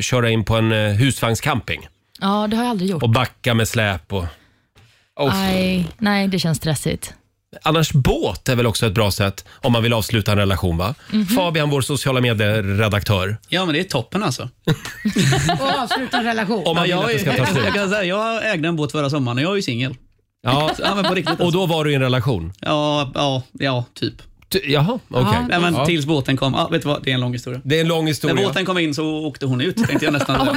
Speaker 1: köra in på en eh, husvagnscamping
Speaker 2: ja, det har jag aldrig gjort.
Speaker 1: och backa med släp. Och... Oh.
Speaker 2: Nej, nej, det känns stressigt.
Speaker 1: Annars båt är väl också ett bra sätt om man vill avsluta en relation va?
Speaker 2: Mhm.
Speaker 1: Fabian, vår sociala medieredaktör.
Speaker 8: Ja, men det är toppen alltså.
Speaker 4: [LAUGHS] Och avsluta en relation.
Speaker 1: Om man vill att det ska ta slut.
Speaker 4: [LAUGHS]
Speaker 8: Jag, kan säga, jag ägde en båt förra sommaren och jag är ju singel.
Speaker 1: Ja.
Speaker 8: [LAUGHS] Ja, men på riktigt. alltså.
Speaker 1: Och då var du i en relation?
Speaker 8: Ja, ja, ja typ.
Speaker 1: jaha, okej.
Speaker 8: Nej, men
Speaker 1: Ja.
Speaker 8: Tills båten kom. Ja, vet du vad, det är en lång historia.
Speaker 1: Det är en lång historia.
Speaker 8: När båten kom in så åkte hon ut,
Speaker 4: [LAUGHS]
Speaker 8: tänkte jag
Speaker 1: [LAUGHS]
Speaker 8: nästan.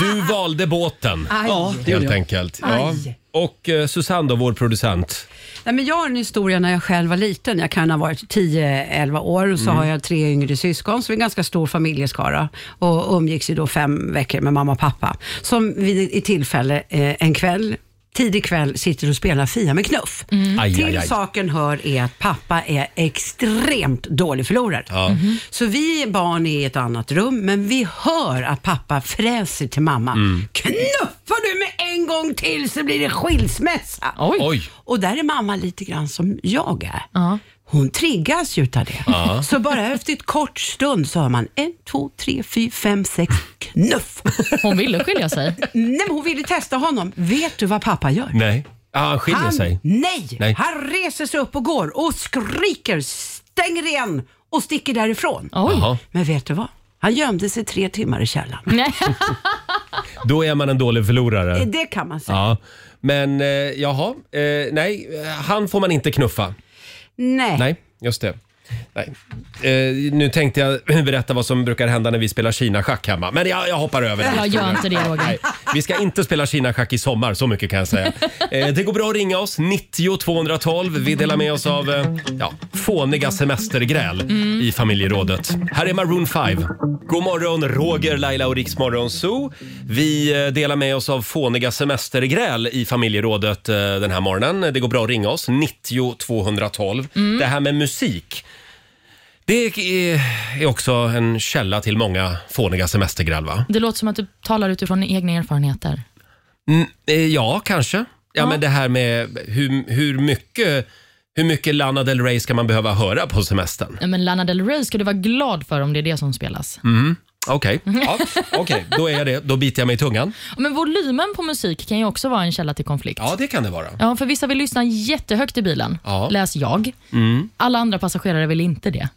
Speaker 1: Du valde båten,
Speaker 4: Aj. Ja, det gjorde
Speaker 1: helt
Speaker 4: jag.
Speaker 1: enkelt. Ja.
Speaker 4: Aj.
Speaker 1: Och eh, Susanne då, vår producent.
Speaker 4: Nej, men jag har en historia när jag själv var liten. Jag kan ha varit 10-11 år och så
Speaker 1: Mm.
Speaker 4: har jag tre yngre syskon, så vi är en ganska stor familjeskara och umgicks ju då fem veckor med mamma och pappa, som vid ett tillfälle eh, en kväll tidig kväll sitter och spelar Fia med knuff.
Speaker 1: Mm.
Speaker 11: Aj,
Speaker 4: Till
Speaker 11: aj, aj.
Speaker 4: saken hör är att pappa är extremt dålig förlorare. Mm-hmm.
Speaker 11: Ja. Mhm.
Speaker 1: Mm-hmm.
Speaker 4: Så vi barn är i ett annat rum, men vi hör att pappa fräser till mamma.
Speaker 11: Mm.
Speaker 4: Knuffar du med en gång till så blir det skilsmässa.
Speaker 11: Oj. Oj.
Speaker 4: Och där är mamma lite grann som jag är. Hon triggas ju utav det.
Speaker 11: Ja.
Speaker 4: Så bara efter ett kort stund så hör man en, två, tre, fyra, fem, sex, knuff.
Speaker 2: Hon ville skilja sig.
Speaker 4: Nej, men hon ville testa honom. Vet du vad pappa gör?
Speaker 1: Nej. Ah, han skiljer
Speaker 4: han,
Speaker 1: sig.
Speaker 4: Nej.
Speaker 1: Nej.
Speaker 4: Han reser sig upp och går och skriker, stänger igen och sticker därifrån.
Speaker 1: Jaha.
Speaker 4: Men vet du vad? Han gömde sig tre timmar i källaren.
Speaker 1: Då är man en dålig förlorare.
Speaker 4: [LAUGHS] Det kan man säga.
Speaker 1: Ja. Men eh, jaha, eh, nej, eh, han får man inte knuffa.
Speaker 4: Nej.
Speaker 1: Nej, just det. Nej. Eh, nu tänkte jag [CLEARS THROAT] berätta vad som brukar hända när vi spelar Kina-schack hemma. Men jag, jag hoppar över
Speaker 2: Ja, gör inte det, Roger.
Speaker 1: Nej, Vi ska inte spela Kina-schack i sommar, så mycket kan jag säga. Eh, det går bra att ringa oss, 90 212. Vi delar med oss av eh, ja, fåniga semestergräl i familjerådet. Här är Maroon 5. God morgon, Roger, Laila och Riksmorgon Zoo. Vi eh, delar med oss av fåniga semestergräl i familjerådet eh, den här morgonen. Det går bra att ringa oss, 90 212.
Speaker 11: Mm.
Speaker 1: Det här med musik. Det är är också en källa till många fåniga semestergräl, va?
Speaker 2: Det låter som att du talar utifrån dina egna erfarenheter.
Speaker 1: Mm, eh, ja, kanske. Ja, men det här med hur, hur mycket hur mycket Lana Del Rey ska man behöva höra på semestern?
Speaker 2: Ja, Men Lana Del Rey ska du vara glad för om det är det som spelas.
Speaker 1: Mm. Okej, ja, okej. då är jag det. Då biter jag mig i tungan.
Speaker 2: Men volymen på musik kan ju också vara en källa till konflikt.
Speaker 1: Ja, det kan det vara.
Speaker 2: Ja, för vissa vill lyssna jättehögt i bilen.
Speaker 1: Ja.
Speaker 2: Läs jag.
Speaker 1: Mm,
Speaker 2: Alla andra passagerare vill inte det.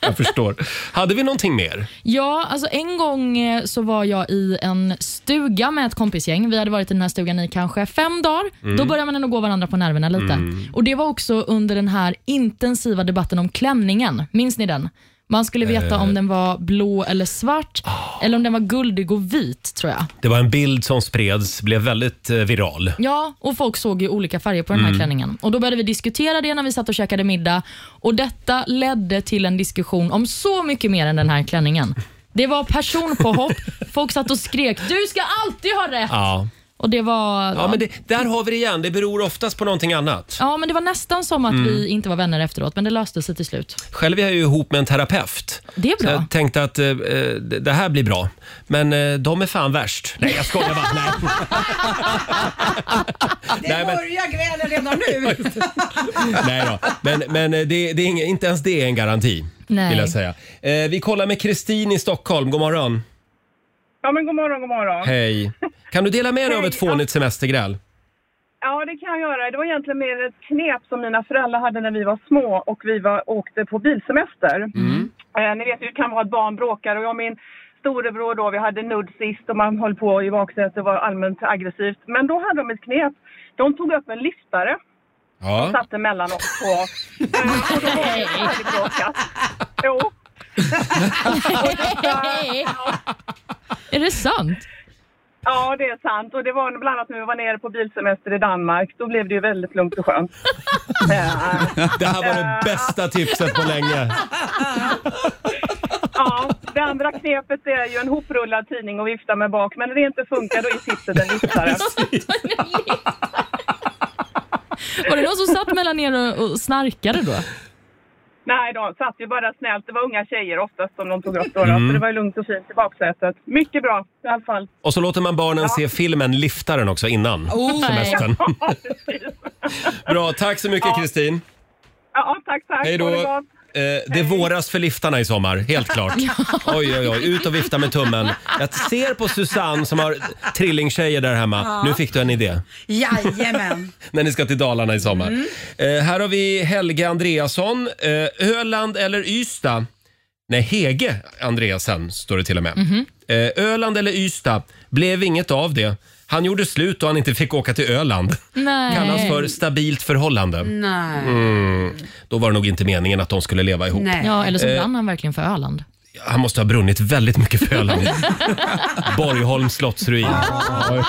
Speaker 1: jag förstår. Hade vi någonting mer?
Speaker 2: Ja, alltså en gång eh, så var jag i en stuga med ett kompisgäng. Vi hade varit i den här stugan i kanske fem dagar.
Speaker 11: Mm.
Speaker 2: Då började man ändå gå varandra på nerverna lite.
Speaker 11: Mm.
Speaker 2: Och Det var också under den här intensiva debatten om klänningen. Minns ni den? Man skulle veta
Speaker 1: Eh.
Speaker 2: om den var blå eller svart, eller om den var guldig och vit, tror jag.
Speaker 1: Det var en bild som spreds, blev väldigt eh, viral.
Speaker 2: Ja, och folk såg ju olika färger på den här
Speaker 1: Mm.
Speaker 2: klänningen. Och Då började vi diskutera det när vi satt och käkade middag. Och Detta ledde till en diskussion om så mycket mer än den här klänningen. Det var personpåhopp, folk satt och skrek “Du ska alltid ha rätt!”
Speaker 1: Ja,
Speaker 2: Och det var...
Speaker 1: ja men det, där har vi det igen. Det beror oftast på någonting annat.
Speaker 2: Ja, men det var nästan som att
Speaker 1: Mm.
Speaker 2: vi inte var vänner efteråt, men det löste sig till slut.
Speaker 1: Själv är jag ju ihop med en terapeut.
Speaker 2: Det är
Speaker 1: Så
Speaker 2: bra.
Speaker 1: jag tänkte att eh, eh, det det här blir bra. Men eh, de är fan värst. Nej, jag skojar bara. Nej.
Speaker 4: Det
Speaker 1: Nej, men-
Speaker 4: börjar grälen redan nu.
Speaker 1: [LAUGHS] Nej då. Men, men eh, det, det är ing, inte ens det är en garanti.
Speaker 12: Nej.
Speaker 1: Vill jag säga. Eh, vi kollar med Kristin i Stockholm. God morgon.
Speaker 12: Ja, men god morgon, god morgon.
Speaker 1: Hej. Kan du dela med dig av
Speaker 12: Hej,
Speaker 1: ett fånigt semestergräl?
Speaker 12: Ja, det kan jag göra. Det var egentligen mer ett knep som mina föräldrar hade när vi var små
Speaker 1: Mm.
Speaker 12: och vi var, åkte på bilsemester. Eh, ni vet ju hur det kan vara att barn bråkar och jag och min storebror då, vi hade nudd sist och man höll på i baksätet och var allmänt aggressivt. Men då hade de ett knep. De tog upp en lyftare och
Speaker 1: Ja.
Speaker 12: satte mellan oss
Speaker 2: [LAUGHS]
Speaker 12: två. Eh, och då var det färdigbråkat. Jo.
Speaker 2: [LAUGHS] Är det sant?
Speaker 12: Ja, det är sant. Och det var bland annat när vi var nere på bilsemester i Danmark. Då blev det ju väldigt lugnt och skönt. Eh,
Speaker 1: Det här var det bästa tipset på länge.
Speaker 12: Ja, det andra knepet är ju en hoprullad tidning och vifta med bak. Men när det inte funkar då är tipset en
Speaker 2: [LAUGHS]
Speaker 12: lyftare.
Speaker 2: Var det någon som satt mellan er och, och snarkade då?
Speaker 12: Nej, de satt ju bara snällt. Det var unga tjejer oftast som de tog upp då. då.
Speaker 1: Mm.
Speaker 12: Så det var ju lugnt och fint i baksätet. Mycket bra i alla fall.
Speaker 1: Och så låter man barnen se filmen Liftaren också innan
Speaker 12: Oh.
Speaker 1: semestern. Bra, tack så mycket
Speaker 12: Ja.
Speaker 1: Kristin.
Speaker 12: [LAUGHS] Ja, tack, tack.
Speaker 1: Hej då.
Speaker 12: Ha det gott.
Speaker 1: Eh, det våras för liftarna i sommar, helt klart. Oj, oj, oj. Ut och vifta med tummen. Jag ser på Susanne som har trillingtjejer där hemma.
Speaker 11: Ja.
Speaker 1: Nu fick du en idé.
Speaker 11: Jajamän.
Speaker 1: När ni ska till Dalarna i sommar.
Speaker 11: Mm.
Speaker 1: Eh, här har vi Helge Andreasson. Eh, Öland eller Ystad? Nej, Hege Andreasen står det till och med.
Speaker 11: Mhm.
Speaker 1: Eh, Öland eller Ystad? Blev inget av det. Han gjorde slut och han inte fick åka till Öland.
Speaker 2: Nej.
Speaker 1: Kallas för stabilt förhållande.
Speaker 2: Nej.
Speaker 1: Mm. Då var det nog inte meningen att de skulle leva ihop.
Speaker 2: Ja, eller så
Speaker 1: Eh,
Speaker 2: brann han verkligen för Öland. [LAUGHS]
Speaker 1: han måste ha brunnit väldigt mycket för Öland. Borgholms slottsruin. Oj.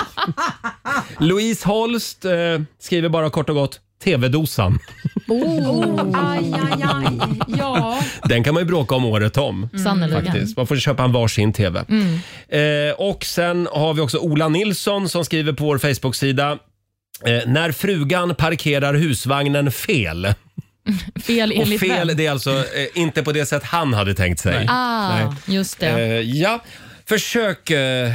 Speaker 1: Louise Holst eh, skriver bara kort och gott TV-dosan.
Speaker 2: Oh. Aj, aj, aj. Ja.
Speaker 1: Den kan man ju bråka om året om.
Speaker 2: Mm. Sannerligen.
Speaker 1: Faktiskt. Man får köpa en varsin TV.
Speaker 2: Mm.
Speaker 1: Eh, och sen har vi också Ola Nilsson som skriver på vår Facebook-sida. Eh, när frugan parkerar husvagnen fel.
Speaker 2: Fel
Speaker 1: Och
Speaker 2: enligt
Speaker 1: fel,
Speaker 2: vem?
Speaker 1: det är alltså eh, inte på det sätt han hade tänkt sig.
Speaker 2: Ah, just det.
Speaker 1: Eh, ja, försök eh, eh,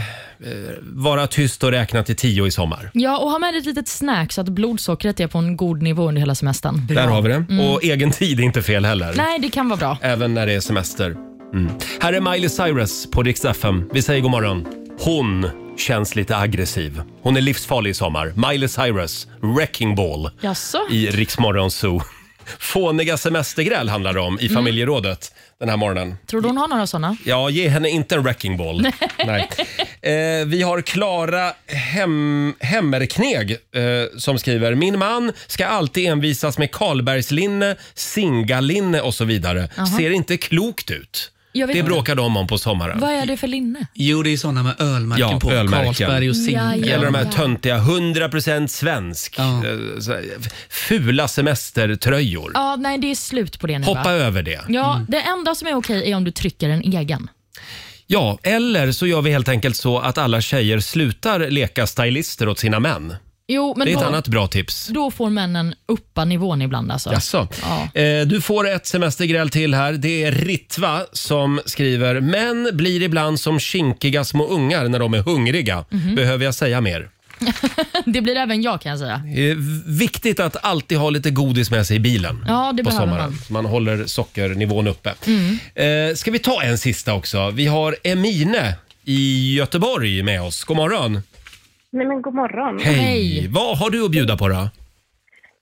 Speaker 1: vara tyst och räkna till tio i sommar.
Speaker 2: Ja, och ha med dig ett litet snack så att blodsockret är på en god nivå under hela semestern.
Speaker 1: Där har vi det.
Speaker 2: Mm.
Speaker 1: Och egen tid är inte fel heller.
Speaker 2: Nej, det kan vara bra.
Speaker 1: Även när det är semester. Mm. Här är Miley Cyrus på Rix FM. Vi säger god morgon. Hon känns lite aggressiv. Hon är livsfarlig i sommar. Miley Cyrus, Wrecking Ball
Speaker 2: Jaså?
Speaker 1: i Rix Morgon Zoo. [LAUGHS] Fåniga semestergräl handlar det om i
Speaker 2: Mm.
Speaker 1: familjerådet den här morgonen.
Speaker 2: Tror du hon har några sådana?
Speaker 1: Ja, ge henne inte en wrecking ball.
Speaker 2: Nej.
Speaker 1: Nej. Eh, vi har Klara Hem, Hemmerkneg eh, som skriver “Min man ska alltid envisas med Karlbergslinne, Singalinne och så vidare.
Speaker 2: Jaha.
Speaker 1: Ser inte klokt ut.”
Speaker 2: Jag vet
Speaker 1: Det
Speaker 2: inte.
Speaker 1: bråkar de om på sommaren.
Speaker 2: Vad är det för linne?
Speaker 1: Jo, det är sådana med ölmärken ja,
Speaker 8: på.
Speaker 1: ölmärken.
Speaker 8: Carlsberg och Zinga.
Speaker 2: Ja, ja,
Speaker 1: Eller de här
Speaker 2: ja.
Speaker 1: töntiga 100% svensk. eh, så här, Fula semestertröjor.
Speaker 2: Ja, nej, det är slut på det nu
Speaker 1: Hoppa
Speaker 2: va?
Speaker 1: över Mm. det.
Speaker 2: Ja, det enda som är okej är om du trycker en egen.
Speaker 1: Ja, eller så gör vi helt enkelt så att alla tjejer slutar leka stylister åt sina män.
Speaker 2: Jo, men
Speaker 1: det är
Speaker 2: då,
Speaker 1: ett annat bra tips.
Speaker 2: då får männen uppa nivån ibland alltså.
Speaker 1: Jaså. Eh, du får ett semestergräl till här. Det är Ritva som skriver “Män blir ibland som kinkiga små ungar när de är hungriga.
Speaker 2: Mhm.
Speaker 1: Behöver jag säga mer?”
Speaker 2: [LAUGHS] Det blir även jag kan jag säga.
Speaker 1: eh, Viktigt att alltid ha lite godis med sig i bilen
Speaker 2: Ja, det
Speaker 1: på
Speaker 2: behöver
Speaker 1: sommaren.
Speaker 2: man.
Speaker 1: Så man håller sockernivån uppe.
Speaker 2: Mm.
Speaker 1: Eh, ska vi ta en sista också? Vi har Emine i Göteborg med oss. God morgon!
Speaker 13: Nej men god morgon.
Speaker 1: Hej. Vad har du att bjuda på då?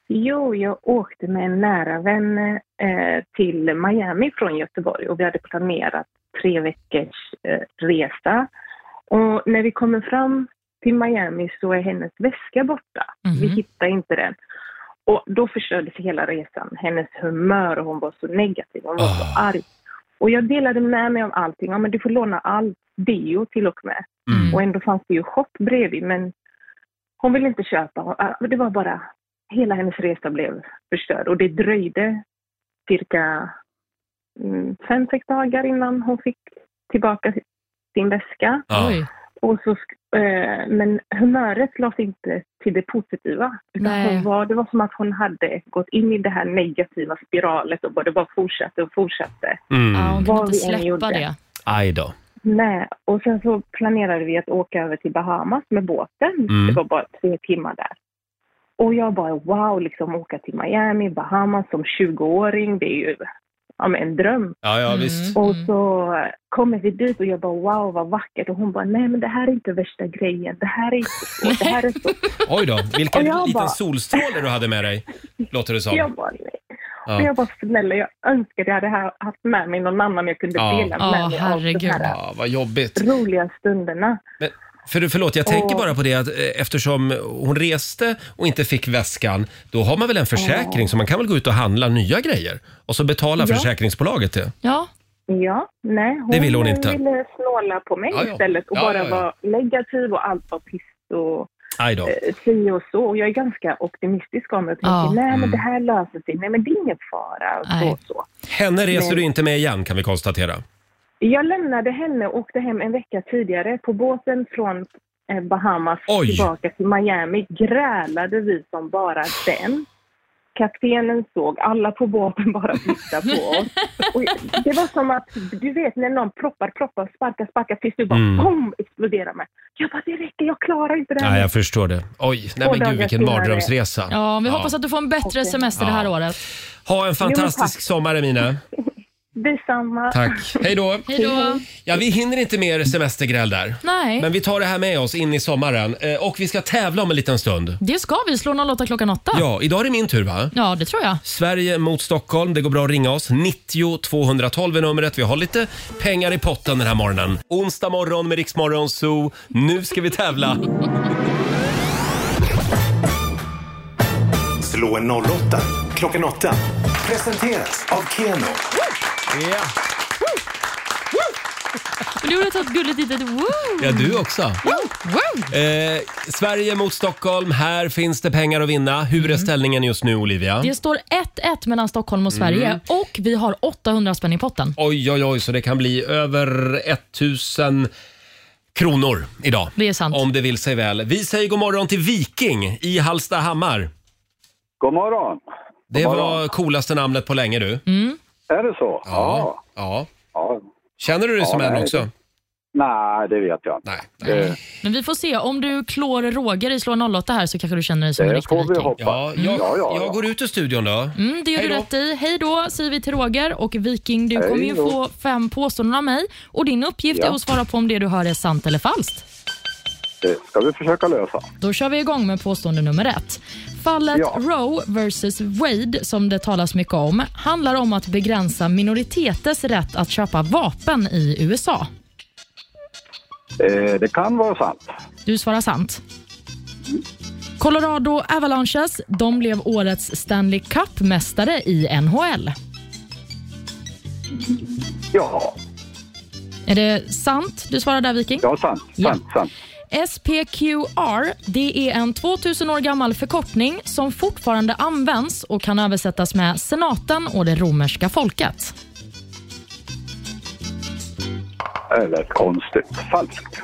Speaker 13: Jo, jag åkte med en nära vän eh, till Miami från Göteborg och vi hade planerat tre veckors eh, resa. Och när vi kommer fram till Miami så är hennes väska borta. Vi hittar inte den. Och då förstördes hela resan. Hennes humör och hon var så negativ, hon var så arg. Och jag delade med mig av allting. Ja, men du får låna allt, deo till och med.
Speaker 2: Mm.
Speaker 13: Och ändå fanns det ju shop bredvid, men hon ville inte köpa. Och, ah, Det var bara, hela hennes resa blev förstörd och det dröjde cirka mm, fem, sex dagar innan hon fick tillbaka sin väska.
Speaker 11: Ja. Oj.
Speaker 13: Och så, sk- eh, men humöret lades inte till det positiva. Utan
Speaker 11: Nej.
Speaker 13: hon var, det var som att hon hade gått in i det här negativa spiralet och bara, det bara fortsatte och fortsatte.
Speaker 1: Mm.
Speaker 2: Ja, hon
Speaker 13: Vad
Speaker 2: kan inte
Speaker 13: vi än
Speaker 2: släppa
Speaker 13: gjorde.
Speaker 2: det.
Speaker 1: Aj då.
Speaker 13: Nej, och sen så planerade vi att åka över till Bahamas med båten.
Speaker 1: Mm.
Speaker 13: Det var bara tre timmar där. Och jag bara wow, liksom åka till Miami, Bahamas som 20-åring, det är ju ja, men en dröm.
Speaker 1: Ja, ja visst.
Speaker 13: Och så kommer vi dit och jag bara wow vad vackert och hon bara nej men det här är inte värsta grejen, det här är inte så, det här är så.
Speaker 1: Oj då, vilken
Speaker 13: Och jag
Speaker 1: liten
Speaker 13: bara-
Speaker 1: solstråle du hade med dig, låter [LAUGHS] det som.
Speaker 13: Jag bara nej.
Speaker 1: Ja.
Speaker 13: Men jag bara, snälla, jag önskar jag hade ha- haft med mig någon annan jag kunde
Speaker 1: Ja.
Speaker 13: dela med
Speaker 1: Ja,
Speaker 13: mig av de
Speaker 1: herregud.
Speaker 13: här
Speaker 1: Ja, vad jobbigt.
Speaker 13: roliga stunderna.
Speaker 1: Men, för, förlåt, jag tänker
Speaker 13: Och-
Speaker 1: bara på det att eh, eftersom hon reste och inte fick väskan, då har man väl en försäkring så man kan väl gå ut och handla nya grejer och så betalar
Speaker 13: Ja.
Speaker 1: försäkringsbolaget det.
Speaker 2: Ja.
Speaker 13: Ja, nej. Hon
Speaker 1: Det ville hon inte.
Speaker 13: ville snåla på mig
Speaker 1: Ja, ja.
Speaker 13: istället och
Speaker 1: Ja,
Speaker 13: bara
Speaker 1: ja, ja.
Speaker 13: vara negativ och allt var piss och
Speaker 1: Aj då.
Speaker 13: eh, si och så. Och jag är ganska optimistisk om det. Jag tänker,
Speaker 1: Ja.
Speaker 13: nej
Speaker 1: Mm.
Speaker 13: men det här löser sig. Nej men det är ingen fara. Och så, och så.
Speaker 1: Henne reser
Speaker 13: Men-
Speaker 1: du inte med igen kan vi konstatera.
Speaker 13: Jag lämnade henne och åkte hem en vecka tidigare på båten från eh, Bahamas
Speaker 1: Oj.
Speaker 13: tillbaka till Miami. Grälade vi som bara den. Kaptenen såg, alla på båten bara tittade på oss. Och jag- det var som att, du vet när någon proppar, proppar, sparkar, sparkar tills du bara
Speaker 1: Mm.
Speaker 13: boom, exploderar med. Jag bara, det räcker, jag klarar inte det här.
Speaker 1: Nej, jag förstår det. Oj, nej
Speaker 13: Två
Speaker 1: men
Speaker 13: dagar
Speaker 1: gud vilken
Speaker 13: senare.
Speaker 1: mardrömsresa.
Speaker 2: Ja, vi hoppas att du får en bättre semester det här
Speaker 1: Ja.
Speaker 2: året.
Speaker 1: Ha en
Speaker 2: Jo, men
Speaker 1: fantastisk
Speaker 2: tack.
Speaker 1: sommar Emina.
Speaker 13: Detsamma.
Speaker 1: Tack. Hej då.
Speaker 2: Hej då.
Speaker 1: Ja, vi hinner inte mer semestergräl där.
Speaker 2: Nej.
Speaker 1: Men vi tar det här med oss in i sommaren Eh, och vi ska tävla om en liten stund.
Speaker 2: Det ska vi. Slå någon låta klockan åtta.
Speaker 1: Ja, idag är det min tur va?
Speaker 2: Ja, det tror jag.
Speaker 1: Sverige mot Stockholm. Det går bra att ringa oss. 90 212 är numret. Vi har lite pengar i potten den här morgonen. Onsdag morgon med Riksmorgon Zoo. Nu ska vi tävla.
Speaker 2: Mm.
Speaker 5: Slå en 08 klockan 8. Presenteras av Keno.
Speaker 1: Ja.
Speaker 2: Men Du har tagit ett gulligt litet woo.
Speaker 1: Ja, du också.
Speaker 2: Woo.
Speaker 1: Eh, Sverige mot Stockholm. Här finns det pengar att vinna. Hur är ställningen just nu, Olivia?
Speaker 2: Det står 1-1 mellan Stockholm och Sverige
Speaker 1: Mm.
Speaker 2: och vi har 800 spänn i potten.
Speaker 1: Oj, oj, oj, så det kan bli över 1000 kronor idag.
Speaker 2: Det är sant.
Speaker 1: Om det vill sig väl. Vi säger god morgon till Viking i Hallstahammar.
Speaker 11: God morgon.
Speaker 1: Det
Speaker 11: God
Speaker 1: var coolaste namnet på länge du.
Speaker 2: Mm.
Speaker 11: Är det så?
Speaker 1: Ja. ja. Känner du dig
Speaker 11: Ja,
Speaker 1: som en
Speaker 11: nej,
Speaker 1: också?
Speaker 11: det- Nej, det vet jag inte.
Speaker 1: Nej.
Speaker 11: Det,
Speaker 2: Men vi får se. Om du klår Roger i Slå 08 här så kanske du känner dig
Speaker 1: Eh,
Speaker 2: som en riktig viking.
Speaker 1: Ja, jag, jag går ut ur studion då.
Speaker 2: Mm, det gör du rätt i. Hej då säger vi till Roger. Och Viking, du
Speaker 1: Hej
Speaker 2: kommer ju
Speaker 1: då.
Speaker 2: få fem påståenden av mig. Och din uppgift
Speaker 11: Ja.
Speaker 2: är att svara på om det du hör är sant eller falskt.
Speaker 11: det ska vi försöka lösa.
Speaker 2: Då kör vi igång med påstående nummer ett. Fallet Roe vs Wade, som det talas mycket om, handlar om att begränsa minoriteters rätt att köpa vapen i USA.
Speaker 11: Eh, det kan vara sant.
Speaker 2: Du svarar sant. Colorado Avalanches de blev årets Stanley Cup-mästare i NHL.
Speaker 11: Ja,
Speaker 2: Är det sant du svarar där, Viking?
Speaker 11: ja sant, sant, sant.
Speaker 2: SPQR det är en 2000 år gammal förkortning som fortfarande används och kan översättas med senaten och det romerska folket.
Speaker 11: Eller konstigt. Falskt.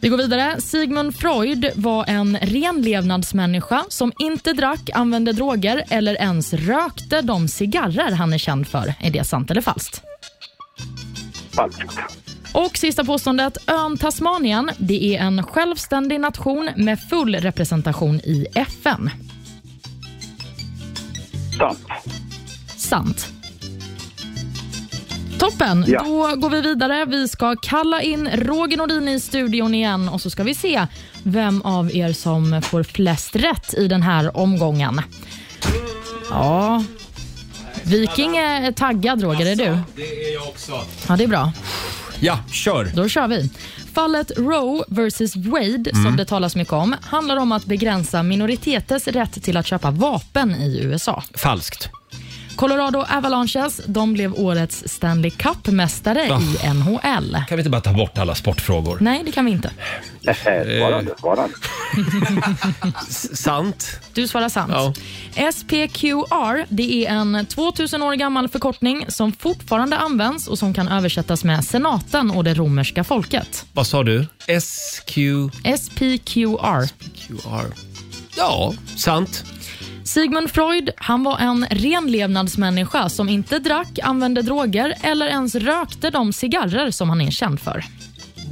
Speaker 2: Vi går vidare. Sigmund Freud var en renlevnadsmänniska som inte drack, använde droger eller ens rökte de cigarrer han är känd för. Är det sant eller falskt?
Speaker 11: Falskt.
Speaker 2: Och sista påståendet. Ön Tasmanien det är en självständig nation med full representation i FN.
Speaker 11: Sant.
Speaker 2: Sant. Toppen!
Speaker 11: Ja.
Speaker 2: Då går vi vidare. Vi ska kalla in Roger Nordin i studion igen och så ska vi se vem av er som får flest rätt i den här omgången. Ja. Viking är taggad, Roger. Är du?
Speaker 1: Det är jag också.
Speaker 2: Ja, det är bra.
Speaker 1: Ja, kör.
Speaker 2: Då kör vi. Fallet Roe vs Wade, som
Speaker 1: Mm.
Speaker 2: det talas mycket om, handlar om att begränsa minoriteters rätt till att köpa vapen i USA.
Speaker 1: Falskt.
Speaker 2: Colorado Avalanches de blev årets Stanley Cup-mästare
Speaker 1: Ah.
Speaker 2: i NHL.
Speaker 1: Kan vi inte bara ta bort alla sportfrågor?
Speaker 2: Nej, det kan vi inte.
Speaker 1: Svarande,
Speaker 11: svarande.
Speaker 1: Sant.
Speaker 2: Du svarar sant.
Speaker 1: Ja.
Speaker 2: SPQR det är en 2000 år gammal förkortning som fortfarande används och som kan översättas med senaten och det romerska folket.
Speaker 1: Vad sa du? SQR.
Speaker 2: SPQR.
Speaker 1: Ja, sant.
Speaker 2: Sigmund Freud han var en renlevnadsmänniska som inte drack, använde droger eller ens rökte de cigarrer som han är känd för.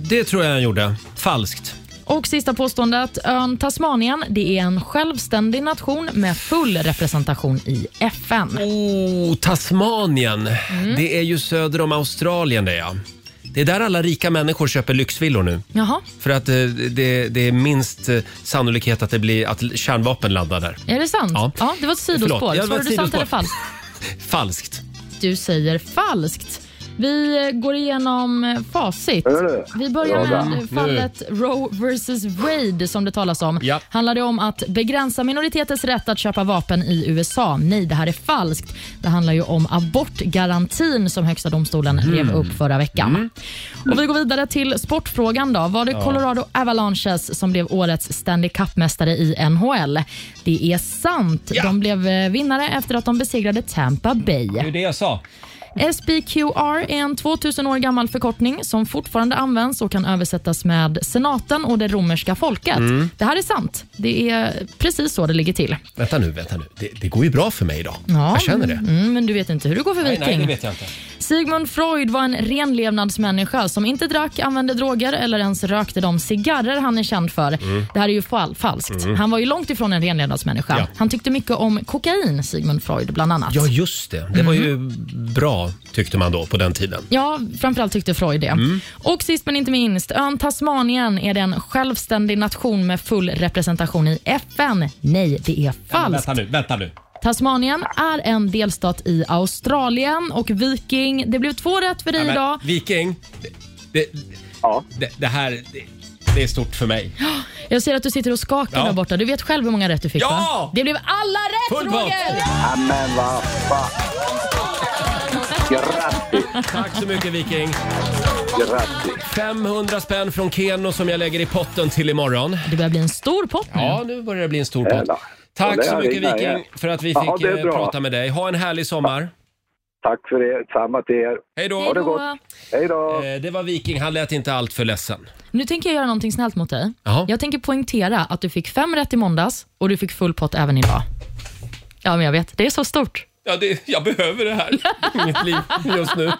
Speaker 1: Det tror jag han gjorde. Falskt.
Speaker 2: Och sista påståendet. Ön Tasmanien det är en självständig nation med full representation i FN.
Speaker 1: Oh, Tasmanien.
Speaker 2: Mm.
Speaker 1: Det är ju söder om Australien det ja. Det är där alla rika människor köper lyxvillor nu.
Speaker 2: Jaha,
Speaker 1: För att eh, det, det är minst eh, sannolikhet att det blir att kärnvapen landar där.
Speaker 2: är det sant?
Speaker 1: Ja.
Speaker 2: det var ett sidospår.
Speaker 1: Förlåt, ja, det var
Speaker 2: Svarade
Speaker 1: ett
Speaker 2: du sant
Speaker 1: sidospår.
Speaker 2: eller falskt?
Speaker 1: Falskt.
Speaker 2: Du säger falskt. Vi går igenom eh, facit.
Speaker 1: Äh,
Speaker 2: Vi börjar
Speaker 1: bra
Speaker 2: med
Speaker 1: där.
Speaker 2: fallet Roe vs Wade som det talas om.
Speaker 1: Ja.
Speaker 2: Handlar det om att begränsa minoriteters rätt att köpa vapen i USA? Nej, det här är falskt. Det handlar ju om abortgarantin som Högsta domstolen
Speaker 14: Mm.
Speaker 2: rev upp förra veckan.
Speaker 1: Mm.
Speaker 2: Och Vi går vidare till sportfrågan. då. Var det
Speaker 14: Ja.
Speaker 2: Colorado Avalanches som blev årets Stanley Cup-mästare i NHL? Det är sant. De blev eh, vinnare efter att de besegrade Tampa Bay.
Speaker 1: Det är ju det jag sa.
Speaker 2: SBQR är en 2000 år gammal förkortning som fortfarande används och kan översättas med senaten och det romerska folket.
Speaker 1: Mm.
Speaker 2: Det här är sant. Det är precis så det ligger till.
Speaker 1: Vänta nu, vänta nu. Det, det går ju bra för mig idag.
Speaker 2: Ja,
Speaker 1: jag känner det.
Speaker 2: Mm, men du vet inte hur det går för
Speaker 1: nej,
Speaker 2: Viking.
Speaker 1: nej, det vet jag inte.
Speaker 2: Sigmund Freud var en renlevnadsmänniska som inte drack, använde droger eller ens rökte de cigarrer han är känd för.
Speaker 14: Mm.
Speaker 2: Det här är ju fal- falskt.
Speaker 1: Mm.
Speaker 2: Han var ju långt ifrån en renlevnadsmänniska.
Speaker 1: Ja.
Speaker 2: Han tyckte mycket om kokain, Sigmund Freud, bland annat.
Speaker 1: Ja, just det. Det var
Speaker 2: Mm.
Speaker 1: ju bra, tyckte man då på den tiden.
Speaker 2: Ja, framförallt tyckte Freud det.
Speaker 1: Mm.
Speaker 2: Och sist men inte minst, ön Tasmanien är det en självständig nation med full representation i FN? Nej, det är falskt.
Speaker 1: Vänta nu, vänta nu.
Speaker 2: Tasmanien är en delstat i Australien och Viking. Det blev två rätt för dig
Speaker 1: Nej, men,
Speaker 2: idag.
Speaker 1: Viking. Det, det, det, det här, det, det är stort för mig.
Speaker 2: Jag ser att du sitter och skakar
Speaker 1: Ja.
Speaker 2: där borta. Du vet själv hur många rätt du fick
Speaker 1: Ja!
Speaker 2: va? Det blev alla rätt
Speaker 1: Full
Speaker 2: Roger!
Speaker 11: Men vad fan. Grattis.
Speaker 1: Tack så mycket Viking.
Speaker 11: Grattis.
Speaker 1: 500 spänn från Keno som jag lägger i potten till imorgon.
Speaker 2: Det börjar bli en stor pott nu.
Speaker 1: Ja, nu börjar det bli en stor pott. Tack så mycket Viking för att vi fick
Speaker 11: Ja, det är
Speaker 1: eh,
Speaker 11: bra.
Speaker 1: prata med dig. Ha en härlig sommar.
Speaker 11: Tack för det. Samma till er.
Speaker 1: Hej då. Eh,
Speaker 11: Ha det gott. Hej då.
Speaker 1: Det var Viking, han lät inte allt för ledsen.
Speaker 2: Nu tänker jag göra någonting snällt mot dig.
Speaker 1: Jaha.
Speaker 2: Jag tänker poängtera att du fick fem rätt i måndags och du fick full pott även idag. Ja, men jag vet. Det är så stort.
Speaker 1: Ja, det, jag behöver det här [LAUGHS] i mitt liv just nu.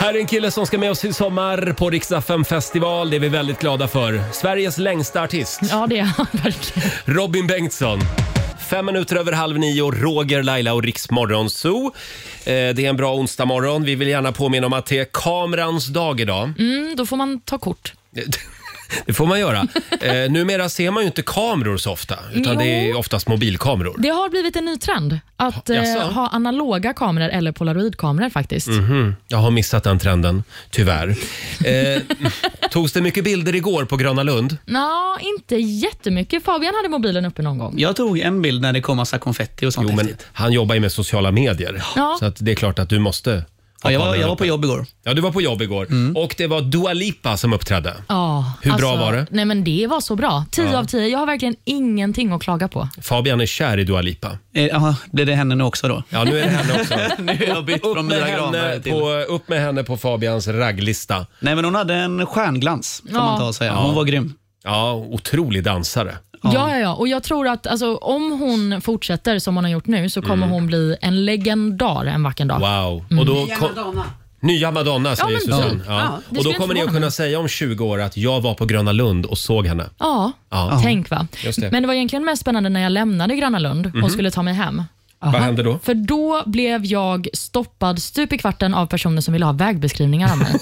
Speaker 1: Här är en kille som ska med oss i sommar på Riksdag 5 festival. Det är vi väldigt glada för. Sveriges längsta artist.
Speaker 2: Ja, det är han verkligen.
Speaker 1: Robin Bengtsson. Fem minuter över halv nio, Roger, Laila och Riksmorgon Zoo. Eh, Det är en bra onsdag morgon. Vi vill gärna påminna om att det är kamerans dag idag.
Speaker 2: [LAUGHS] Mm, då får man ta kort.
Speaker 1: Det får man göra. Eh, numera ser man ju inte kameror så ofta, utan det är oftast mobilkameror.
Speaker 2: Det har blivit en ny trend att
Speaker 1: Jaså?
Speaker 2: eh, ha analoga kameror eller polaroidkameror faktiskt.
Speaker 1: Mhm, Jag har missat den trenden, tyvärr. Eh, togs det mycket bilder igår på Gröna Lund?
Speaker 2: Nå, inte jättemycket. Fabian hade mobilen uppe någon gång.
Speaker 1: Jag tog en bild när det kom massa konfetti och sånt. Jo, men han jobbar ju med sociala medier,
Speaker 2: Ja.
Speaker 1: så att det är klart att du måste...
Speaker 8: Ja, jag var- jag var på Mm.
Speaker 1: jobb igår. Ja, du var på jobb igår. Och det var Dua Lipa som uppträdde.
Speaker 2: Ja, alltså,
Speaker 1: Hur bra var det?
Speaker 2: Nej men Det var så bra. 10
Speaker 1: Ja.
Speaker 2: av 10. Jag har verkligen ingenting att klaga på.
Speaker 1: Fabian är kär i Dua Lipa.
Speaker 8: Jaha, blir Eh, det henne nu också då?
Speaker 1: Ja, nu är det henne också.
Speaker 8: [LAUGHS] nu har jag bytt
Speaker 1: upp,
Speaker 8: från
Speaker 1: med
Speaker 8: mina granar
Speaker 1: henne
Speaker 8: till...
Speaker 1: på, upp med henne på Fabians ragglista.
Speaker 8: Nej, men hon hade en stjärnglans, får
Speaker 2: Ja.
Speaker 8: man ta och säga. Hon var grym.
Speaker 1: Ja, otrolig dansare.
Speaker 2: Ja. ja, ja, Och jag tror att alltså, om hon fortsätter som hon har gjort nu så kommer
Speaker 1: Mm.
Speaker 2: hon bli en legendar en vacker dag.
Speaker 1: Wow.
Speaker 8: Mm.
Speaker 1: Och då
Speaker 4: Nya
Speaker 1: kom-
Speaker 4: Madonna.
Speaker 1: Nya Madonna säger
Speaker 2: men
Speaker 1: Susanne.
Speaker 2: typ.
Speaker 1: Ja.
Speaker 2: Ja, det
Speaker 1: och då
Speaker 2: skulle
Speaker 1: kommer
Speaker 2: inte
Speaker 1: ni att
Speaker 2: förvåna
Speaker 1: kunna säga om 20 år att jag var på Gröna Lund och såg henne.
Speaker 2: Ja,
Speaker 1: Ja.
Speaker 2: tänk va.
Speaker 1: Just det.
Speaker 2: Men det var egentligen mest spännande när jag lämnade Gröna Lund
Speaker 1: Mhm.
Speaker 2: och skulle ta mig hem.
Speaker 1: Vad hände då?
Speaker 2: För då blev jag stoppad stup i kvarten av personer som ville ha vägbeskrivningar
Speaker 1: [LAUGHS]
Speaker 2: av mig.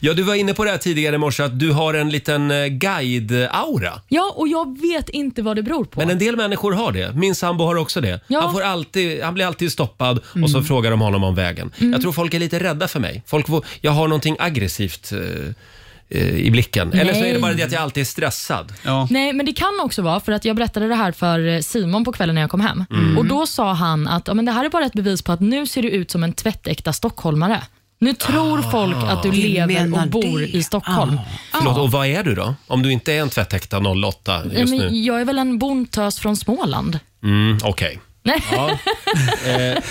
Speaker 1: Ja, du var inne på det här tidigare i morse att du har en liten eh, guide-aura.
Speaker 2: ja, och jag vet inte vad det beror på.
Speaker 1: Men en del människor har det. Min sambo har också det.
Speaker 2: Ja.
Speaker 1: Han, får alltid, han blir alltid stoppad och så
Speaker 2: Mm.
Speaker 1: frågar de honom om vägen.
Speaker 2: Mm.
Speaker 1: Jag tror folk är lite rädda för mig. Folk, vå- jag har någonting aggressivt eh, eh, i blicken. Eller så är det
Speaker 2: Nej.
Speaker 1: bara det att jag alltid är stressad.
Speaker 2: Nej, men det kan också vara för att jag berättade det här för eh, Simon på kvällen när jag kom hem.
Speaker 1: Mm.
Speaker 2: Och Då sa han att ja, men det här är bara ett bevis på att nu ser du ut som en tvättäkta stockholmare. Nu tror
Speaker 1: Ah.
Speaker 2: folk att du
Speaker 4: Du
Speaker 2: lever
Speaker 4: menar
Speaker 2: och bor i Stockholm.
Speaker 1: Förlåt, och vad är du då? Om du inte är en tvättäkta 08
Speaker 2: Nej,
Speaker 1: just nu?
Speaker 2: men jag är väl en bondtös från Småland.
Speaker 1: Mm, Okej.
Speaker 2: Nej. [LAUGHS]
Speaker 1: Ja. Eh,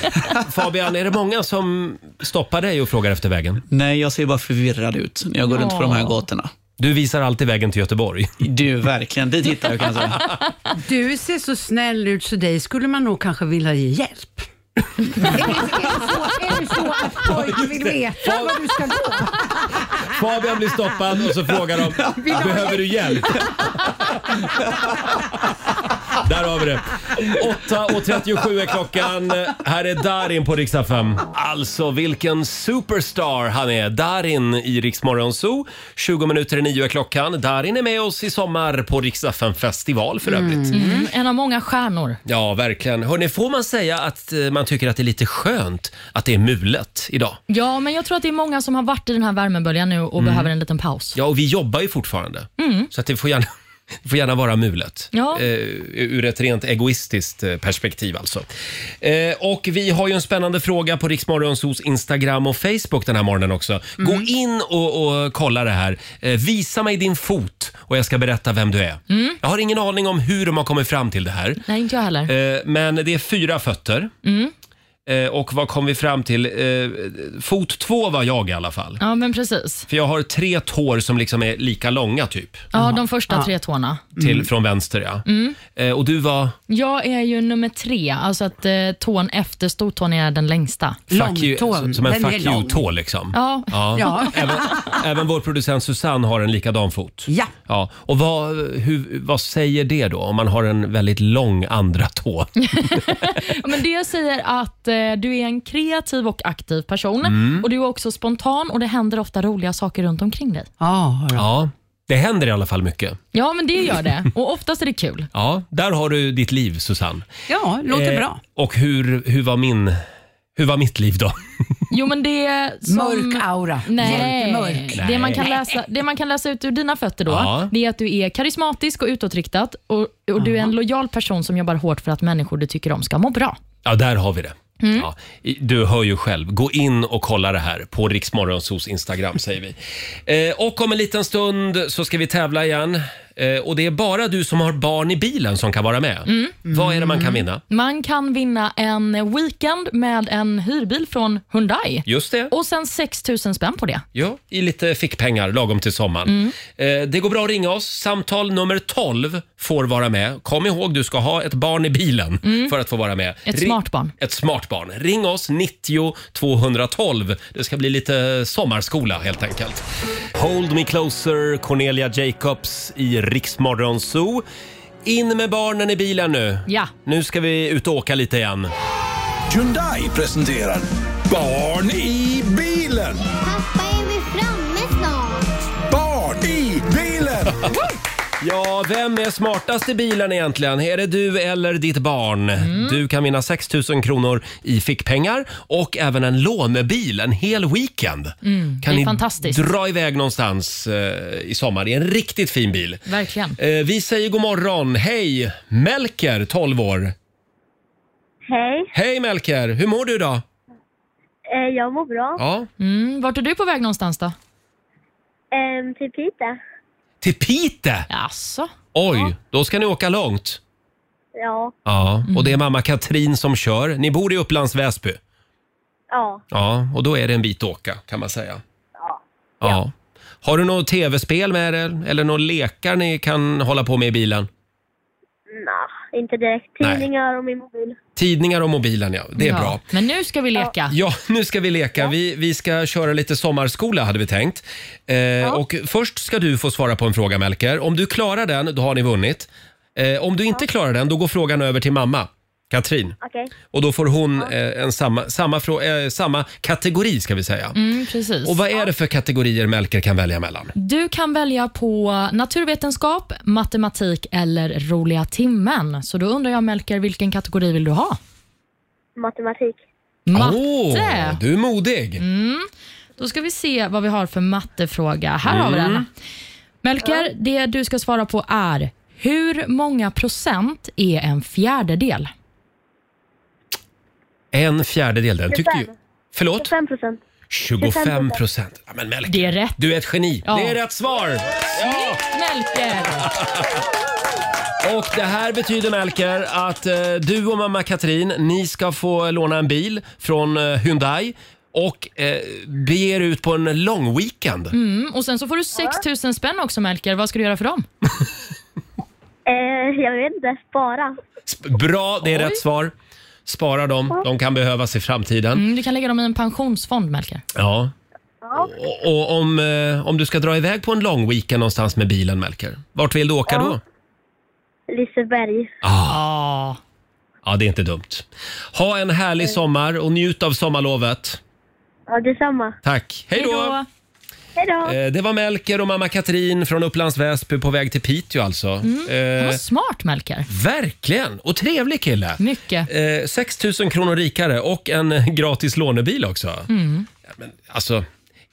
Speaker 1: Fabian, är det många som stoppar dig och frågar efter vägen?
Speaker 8: Nej, jag ser bara förvirrad ut när jag går runt på de här
Speaker 1: Ja.
Speaker 8: gatorna.
Speaker 1: Du visar alltid vägen till Göteborg.
Speaker 8: Du, verkligen. Dit hittar jag kan jag
Speaker 1: Alltså.
Speaker 8: säga.
Speaker 4: Du ser så snäll ut så dig skulle man nog kanske vilja ge hjälp. är det så att folk vill veta var du ska gå?
Speaker 1: Fabian blir
Speaker 2: [LAUGHS]
Speaker 1: stoppad och så frågar de “Behöver du hjälp?” Där har vi det. 8.37 är klockan. Här är Darin på riksdag 5. Alltså vilken superstar han är. Darin i Rix Morgon Zoo. 20 minuter i nio är klockan. Darin är med oss i sommar på riksdag 5 festival för övrigt.
Speaker 2: Mm, en av många stjärnor.
Speaker 1: Ja, verkligen. Hörrni, får man säga att eh, man tycker att det är lite skönt att det är mulet idag?
Speaker 2: Ja, men jag tror att det är många som har varit i den här värmeböljan nu och
Speaker 1: Mm.
Speaker 2: behöver en liten paus.
Speaker 1: Ja, och vi jobbar ju fortfarande.
Speaker 2: Mm.
Speaker 1: Så att det får gärna, [LAUGHS] det får gärna vara mulet.
Speaker 2: Ja.
Speaker 1: Eh, ur ett rent egoistiskt eh, perspektiv alltså. Eh, och vi har ju en spännande fråga på Riksmorgonsos Instagram och Facebook den här morgonen också.
Speaker 2: Mm.
Speaker 1: Gå in och, och kolla det här. Eh, visa mig din fot och jag ska berätta vem du är.
Speaker 2: Mm.
Speaker 1: Jag har ingen aning om hur de har kommit fram till det här.
Speaker 2: Nej, inte jag heller.
Speaker 1: Eh, men det är fyra fötter.
Speaker 2: Mm.
Speaker 1: Eh, och vad kom vi fram till? Eh, fot två var jag i alla fall.
Speaker 2: Ja, men precis.
Speaker 1: För jag har tre tår som liksom är lika långa typ.
Speaker 2: Ja, de första tre tårna.
Speaker 1: Till, Från vänster ja.
Speaker 2: Mm.
Speaker 1: Eh, och du var
Speaker 2: Jag är ju nummer tre, alltså att eh, tån efter stortån är den längsta.
Speaker 1: fuck you, som- som en fuck you-tå liksom.
Speaker 2: Ja.
Speaker 1: [LAUGHS]
Speaker 2: Ja.
Speaker 1: Även, även vår producent Susanne har en likadan fot.
Speaker 4: Ja.
Speaker 1: ja. Och vad, hur, vad säger det då om man har en väldigt lång andra tå?
Speaker 2: Ja, Men det säger att eh, du är en kreativ och aktiv person
Speaker 1: Mm.
Speaker 2: och du är också spontan och det händer ofta roliga saker runt omkring dig.
Speaker 1: Ja, det händer i alla fall mycket.
Speaker 2: Ja, men det gör det och oftast är det kul.
Speaker 1: Ja, där har du ditt liv Susanne.
Speaker 2: Ja,
Speaker 1: Eh, Och hur, hur var min... Hur var mitt liv då?
Speaker 2: Jo, men det är som...
Speaker 4: Mörk aura.
Speaker 2: Nej.
Speaker 4: Jättemörk.
Speaker 1: Nej.
Speaker 2: Det, man kan läsa, det man kan läsa ut ur dina fötter då,
Speaker 1: Ja.
Speaker 2: det är att du är karismatisk och utåtriktad och, och du är en lojal person som jobbar hårt för att människor du tycker om ska må bra.
Speaker 1: Ja, där har vi det.
Speaker 2: Mm.
Speaker 1: Ja, i- du hör ju själv. Gå in och kolla det här på Riksmorgonsos Instagram säger vi. Eh, och om en liten stund så ska vi tävla igen. Eh, och det är bara du som har barn i bilen som kan vara med.
Speaker 2: Mm.
Speaker 1: Vad är det man kan vinna?
Speaker 2: Man kan vinna en weekend med en hyrbil från Hyundai.
Speaker 1: Just det.
Speaker 2: Och sen 6 000 spänn på det.
Speaker 1: Ja, i lite fickpengar lagom till sommaren.
Speaker 2: Mm.
Speaker 1: Eh, det går bra att ringa oss. Samtal nummer 12 får vara med. Kom ihåg, du ska ha ett barn i bilen
Speaker 2: Mm.
Speaker 1: för att få vara med.
Speaker 2: Ett
Speaker 1: Ri-
Speaker 2: smart barn.
Speaker 1: Ett smart barn. Ring oss 90 212. Det ska bli lite sommarskola helt enkelt. Hold me closer, Cornelia Jacobs i Riksmorgon Zoo. In med barnen i bilen nu.
Speaker 2: Ja.
Speaker 1: Nu ska vi ut och åka lite igen.
Speaker 6: Hyundai presenterar Barn i bilen.
Speaker 14: Pappa, är vi framme snart?
Speaker 6: Barn i bilen!
Speaker 1: Ja, vem är smartast i bilen egentligen? Är det du eller ditt barn?
Speaker 2: Mm.
Speaker 1: Du kan vinna 6 000 kronor i fickpengar och även en lånebil en hel weekend.
Speaker 2: Mm,
Speaker 1: Kan
Speaker 2: det är
Speaker 1: ni
Speaker 2: fantastiskt.
Speaker 1: dra iväg någonstans eh, i sommar i en riktigt fin bil.
Speaker 2: Verkligen.
Speaker 1: Eh, vi säger god morgon. Hej! Melker, 12 år.
Speaker 14: Hej,
Speaker 1: Hej Melker! Hur mår du idag?
Speaker 14: eh, jag mår bra.
Speaker 1: Ja.
Speaker 2: Mm, vart är du på väg någonstans då?
Speaker 14: Ehm, till Piteå.
Speaker 1: Till Pite.
Speaker 2: Jaså?
Speaker 1: Oj, då ska ni åka långt.
Speaker 14: Ja,
Speaker 1: Ja, och
Speaker 2: Mm.
Speaker 1: det är mamma Katrin som kör. Ni bor i Upplands Väsby.
Speaker 14: ja.
Speaker 1: Ja, och då är det en bit att åka kan man säga. Ja. Har du något tv-spel med er eller några lekar ni kan hålla på med i bilen?
Speaker 14: Nah, inte direkt.
Speaker 1: Nej.
Speaker 14: Tidningar och min mobil.
Speaker 1: Tidningar och mobilen, ja. Det är
Speaker 2: Ja.
Speaker 1: bra.
Speaker 2: Men nu ska vi leka.
Speaker 1: Ja, nu ska vi leka. Vi, vi ska köra lite sommarskola hade vi tänkt. Eh, Och först ska du få svara på en fråga, Melker. Om du klarar den, då har ni vunnit. Eh, om du inte klarar den, då går frågan över till mamma, Katrin.
Speaker 14: Okej.
Speaker 1: Och då får hon eh, en samma, samma, frå, eh, samma kategori, ska vi säga.
Speaker 2: Mm, precis.
Speaker 1: Och vad är det för kategorier Melker kan välja mellan?
Speaker 2: Du kan välja på naturvetenskap, matematik eller roliga timmen. Så då undrar jag Melker, vilken kategori vill du ha?
Speaker 14: Matematik.
Speaker 2: Matte!
Speaker 1: Åh, du är modig.
Speaker 2: Mm. Då ska vi se vad vi har för mattefråga. Här har vi
Speaker 1: Mm.
Speaker 2: den. Melker, det du ska svara på är hur många procent är en fjärdedel?
Speaker 1: En fjärdedel. Den tyckte ju...
Speaker 14: 25.
Speaker 1: Förlåt?
Speaker 14: 25 procent.
Speaker 1: 25 procent. Ja, men Melker,
Speaker 2: Det är rätt.
Speaker 1: du är ett geni.
Speaker 2: Ja.
Speaker 1: Det är rätt svar! Ja.
Speaker 2: Melker!
Speaker 1: [LAUGHS] Och det här betyder Melker att eh, du och mamma Katrin, ni ska få låna en bil från eh, Hyundai och eh, bege er ut på en lång weekend.
Speaker 2: Mm. Och sen så får du 6 000 spänn också Melker. Vad ska du göra för dem?
Speaker 14: [LAUGHS] Eh, jag vet inte. Spara.
Speaker 1: Sp- Bra, det är rätt svar. Spara dem, de kan behövas i framtiden.
Speaker 2: Mm, du kan lägga dem i en pensionsfond Melker.
Speaker 1: Ja. Och, och om, eh, om du ska dra iväg på en lång weekend någonstans med bilen Melker, vart vill du åka då?
Speaker 14: Liseberg.
Speaker 1: Ah. Ja, Mm. det är inte dumt. Ha en härlig sommar och njut av sommarlovet.
Speaker 14: Ja, detsamma.
Speaker 1: Tack. Hej då!
Speaker 14: Hej då!
Speaker 1: Eh, Det var Melker och mamma Katrin från Upplands Väsby på väg till Piteå alltså.
Speaker 2: Han var
Speaker 1: Eh,
Speaker 2: smart, Melker.
Speaker 1: Verkligen! Och trevlig kille.
Speaker 2: Mycket.
Speaker 1: Eh, 6 000 kronor rikare och en gratis lånebil också.
Speaker 2: Mm.
Speaker 1: Alltså,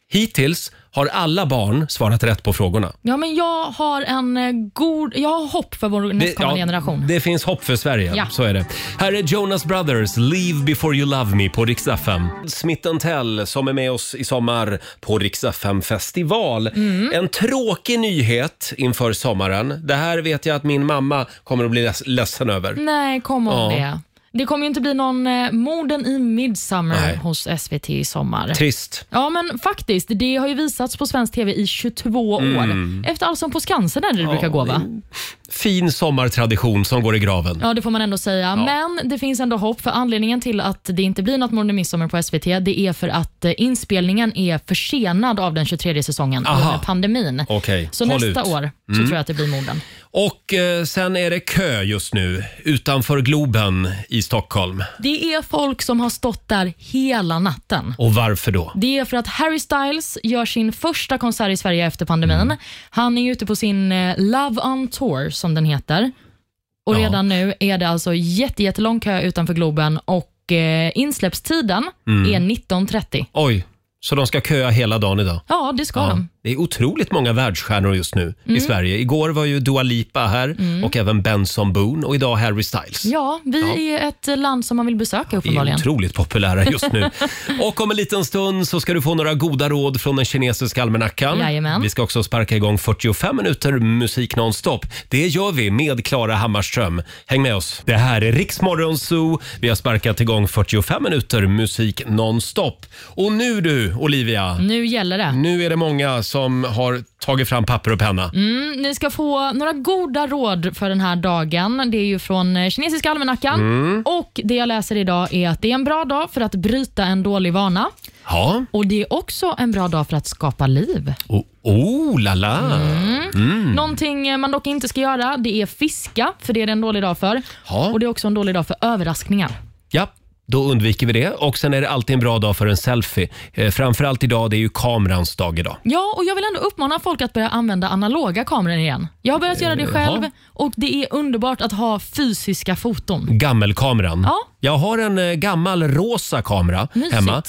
Speaker 1: hittills har alla barn svarat rätt på frågorna.
Speaker 2: Ja, men jag har en eh, god... Jag har hopp för vår nästkommande Mm, generation.
Speaker 1: det finns hopp för Sverige,
Speaker 2: Ja.
Speaker 1: så är det. Här är Jonas Brothers, Leave before you love me på Rix FM. Smith Tell som är med oss i sommar på Rix FM festival.
Speaker 2: Mm.
Speaker 1: En tråkig nyhet inför sommaren. Det här vet jag att min mamma kommer att bli leds- ledsen över.
Speaker 2: Nej, kom om
Speaker 1: Mm. Ja.
Speaker 2: det. Det kommer ju inte bli någon eh, morden i Midsummer
Speaker 1: Nej.
Speaker 2: hos SVT i sommar.
Speaker 1: Trist.
Speaker 2: Ja, men faktiskt. Det har ju visats på svensk TV i 22
Speaker 1: Mm.
Speaker 2: år. Efter Allsång på Skansen där det brukar gå, va?
Speaker 1: Fin sommartradition som går i graven.
Speaker 2: Ja, det får man ändå säga. Men det finns ändå hopp, för anledningen till att det inte blir något Morden i Midsommar på SVT, det är för att eh, inspelningen är försenad av den 23 säsongen
Speaker 1: Aha.
Speaker 2: under pandemin.
Speaker 1: Okej,
Speaker 2: Så
Speaker 1: håll
Speaker 2: nästa
Speaker 1: ut.
Speaker 2: år så
Speaker 1: Mm.
Speaker 2: tror jag att det blir morden.
Speaker 1: Och eh, sen är det kö just nu utanför Globen i Stockholm.
Speaker 2: Det är folk som har stått där hela natten.
Speaker 1: Och varför då?
Speaker 2: Det är för att Harry Styles gör sin första konsert i Sverige efter pandemin.
Speaker 1: Mm.
Speaker 2: Han är ju ute på sin eh, Love on Tour, som den heter. Och redan nu är det alltså jätte- jättelång kö utanför Globen och eh, insläppstiden
Speaker 1: Mm.
Speaker 2: är 19.30.
Speaker 1: Oj, så de ska köa hela dagen idag?
Speaker 2: Ja, det ska
Speaker 1: Ja,
Speaker 2: de.
Speaker 1: det är otroligt många världsstjärnor just nu i
Speaker 2: Mm.
Speaker 1: Sverige. Igår var ju Dua Lipa här
Speaker 2: Mm.
Speaker 1: och även Benson Boone och idag Harry Styles.
Speaker 2: Ja, vi
Speaker 1: Ja.
Speaker 2: är ett land som man vill besöka
Speaker 1: Vi är
Speaker 2: uppenbarligen.
Speaker 1: otroligt populära just nu. Och om en liten stund så ska du få några goda råd från den kinesiska almanackan.
Speaker 2: Jajamän.
Speaker 1: Vi ska också sparka igång 45 minuter musik nonstop. Det gör vi med Klara Hammarström. Häng med oss. Det här är Riksmorgon Zoo. Vi har sparkat igång 45 minuter musik nonstop. Och nu du, Olivia.
Speaker 2: Nu gäller det.
Speaker 1: Nu är det många som har tagit fram papper och penna.
Speaker 2: Mm, ni ska få några goda råd för den här dagen. Det är ju från eh, kinesiska almanackan.
Speaker 1: Mm.
Speaker 2: Och Det jag läser idag är att det är en bra dag för att bryta en dålig vana.
Speaker 1: Ja.
Speaker 2: Och Det är också en bra dag för att skapa liv.
Speaker 1: Oh, oh la la. Mm.
Speaker 2: Någonting eh, man dock inte ska göra det är fiska, för det är det en dålig dag för.
Speaker 1: Ja.
Speaker 2: Och Det är också en dålig dag för överraskningar.
Speaker 1: Ja, då undviker vi det. Och sen är det alltid en bra dag för en selfie. Eh, framförallt idag, det är ju kamerans dag idag.
Speaker 2: Ja, och jag vill ändå uppmana folk att börja använda analoga kameror igen. Jag har börjat göra det
Speaker 1: Jaha.
Speaker 2: själv och det är underbart att ha fysiska foton.
Speaker 1: Gammelkameran.
Speaker 2: Ja.
Speaker 1: Jag har en eh, gammal rosa kamera
Speaker 2: Mysigt. Mm.
Speaker 1: hemma.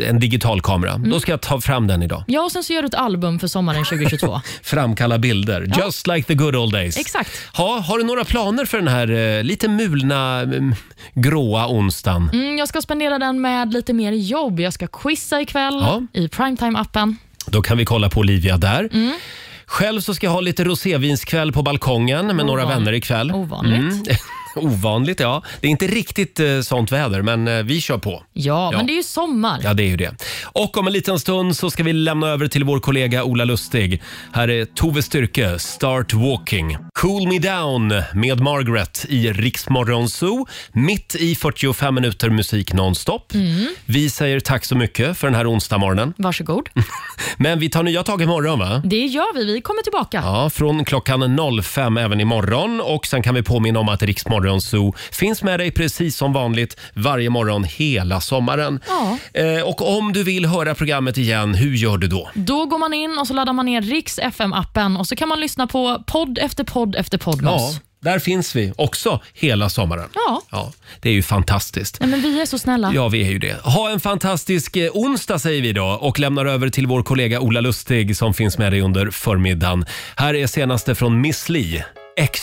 Speaker 1: Eh, en digital kamera. Då ska jag ta fram den idag.
Speaker 2: Ja, och sen så gör du ett album för sommaren 2022.
Speaker 1: [LAUGHS] Framkalla bilder.
Speaker 2: Ja.
Speaker 1: Just like the good old days.
Speaker 2: Exakt.
Speaker 1: Ha, har du några planer för den här eh, lite mulna, mm, gråa onsdagen?
Speaker 2: Mm, jag ska spendera den med lite mer jobb. Jag ska quizza ikväll
Speaker 1: Ja.
Speaker 2: i primetime-appen.
Speaker 1: Då kan vi kolla på Olivia där.
Speaker 2: Mm.
Speaker 1: Själv så ska jag ha lite rosévinskväll på balkongen med några
Speaker 2: Ovanligt.
Speaker 1: vänner ikväll.
Speaker 2: Ovanligt.
Speaker 1: Mm. [LAUGHS] Ovanligt, ja. Det är inte riktigt eh, sånt väder, men eh, vi kör på.
Speaker 2: Ja, men det är ju sommar.
Speaker 1: Ja, det är ju det. Och om en liten stund så ska vi lämna över till vår kollega Ola Lustig. Här är Tove Styrke, Start Walking. Cool Me Down med Margaret i Riksmorgon Zoo. Mitt i 45 minuter musik nonstop.
Speaker 2: Mm.
Speaker 1: Vi säger tack så mycket för den här onsdagmorgonen.
Speaker 2: Varsågod.
Speaker 1: [LAUGHS] Men vi tar nya tag imorgon, va?
Speaker 2: Det gör vi. Vi kommer tillbaka.
Speaker 1: Ja, från klockan 05 även imorgon. Och sen kan vi påminna om att Riksmorgon Zoo finns med dig precis som vanligt varje morgon hela sommaren.
Speaker 2: Ja.
Speaker 1: Eh, och om du vill höra programmet igen, hur gör du då?
Speaker 2: Då går man in och så laddar man ner Riks FM-appen och så kan man lyssna på podd efter podd efter podd med
Speaker 1: Ja,
Speaker 2: oss.
Speaker 1: där finns vi också hela sommaren.
Speaker 2: Ja.
Speaker 1: Ja, det är ju fantastiskt.
Speaker 2: Nej, men vi är så snälla.
Speaker 1: Ja, vi är ju det. Ha en fantastisk eh, onsdag säger vi då och lämnar över till vår kollega Ola Lustig som finns med dig under förmiddagen. Här är senaste från Miss Li, X.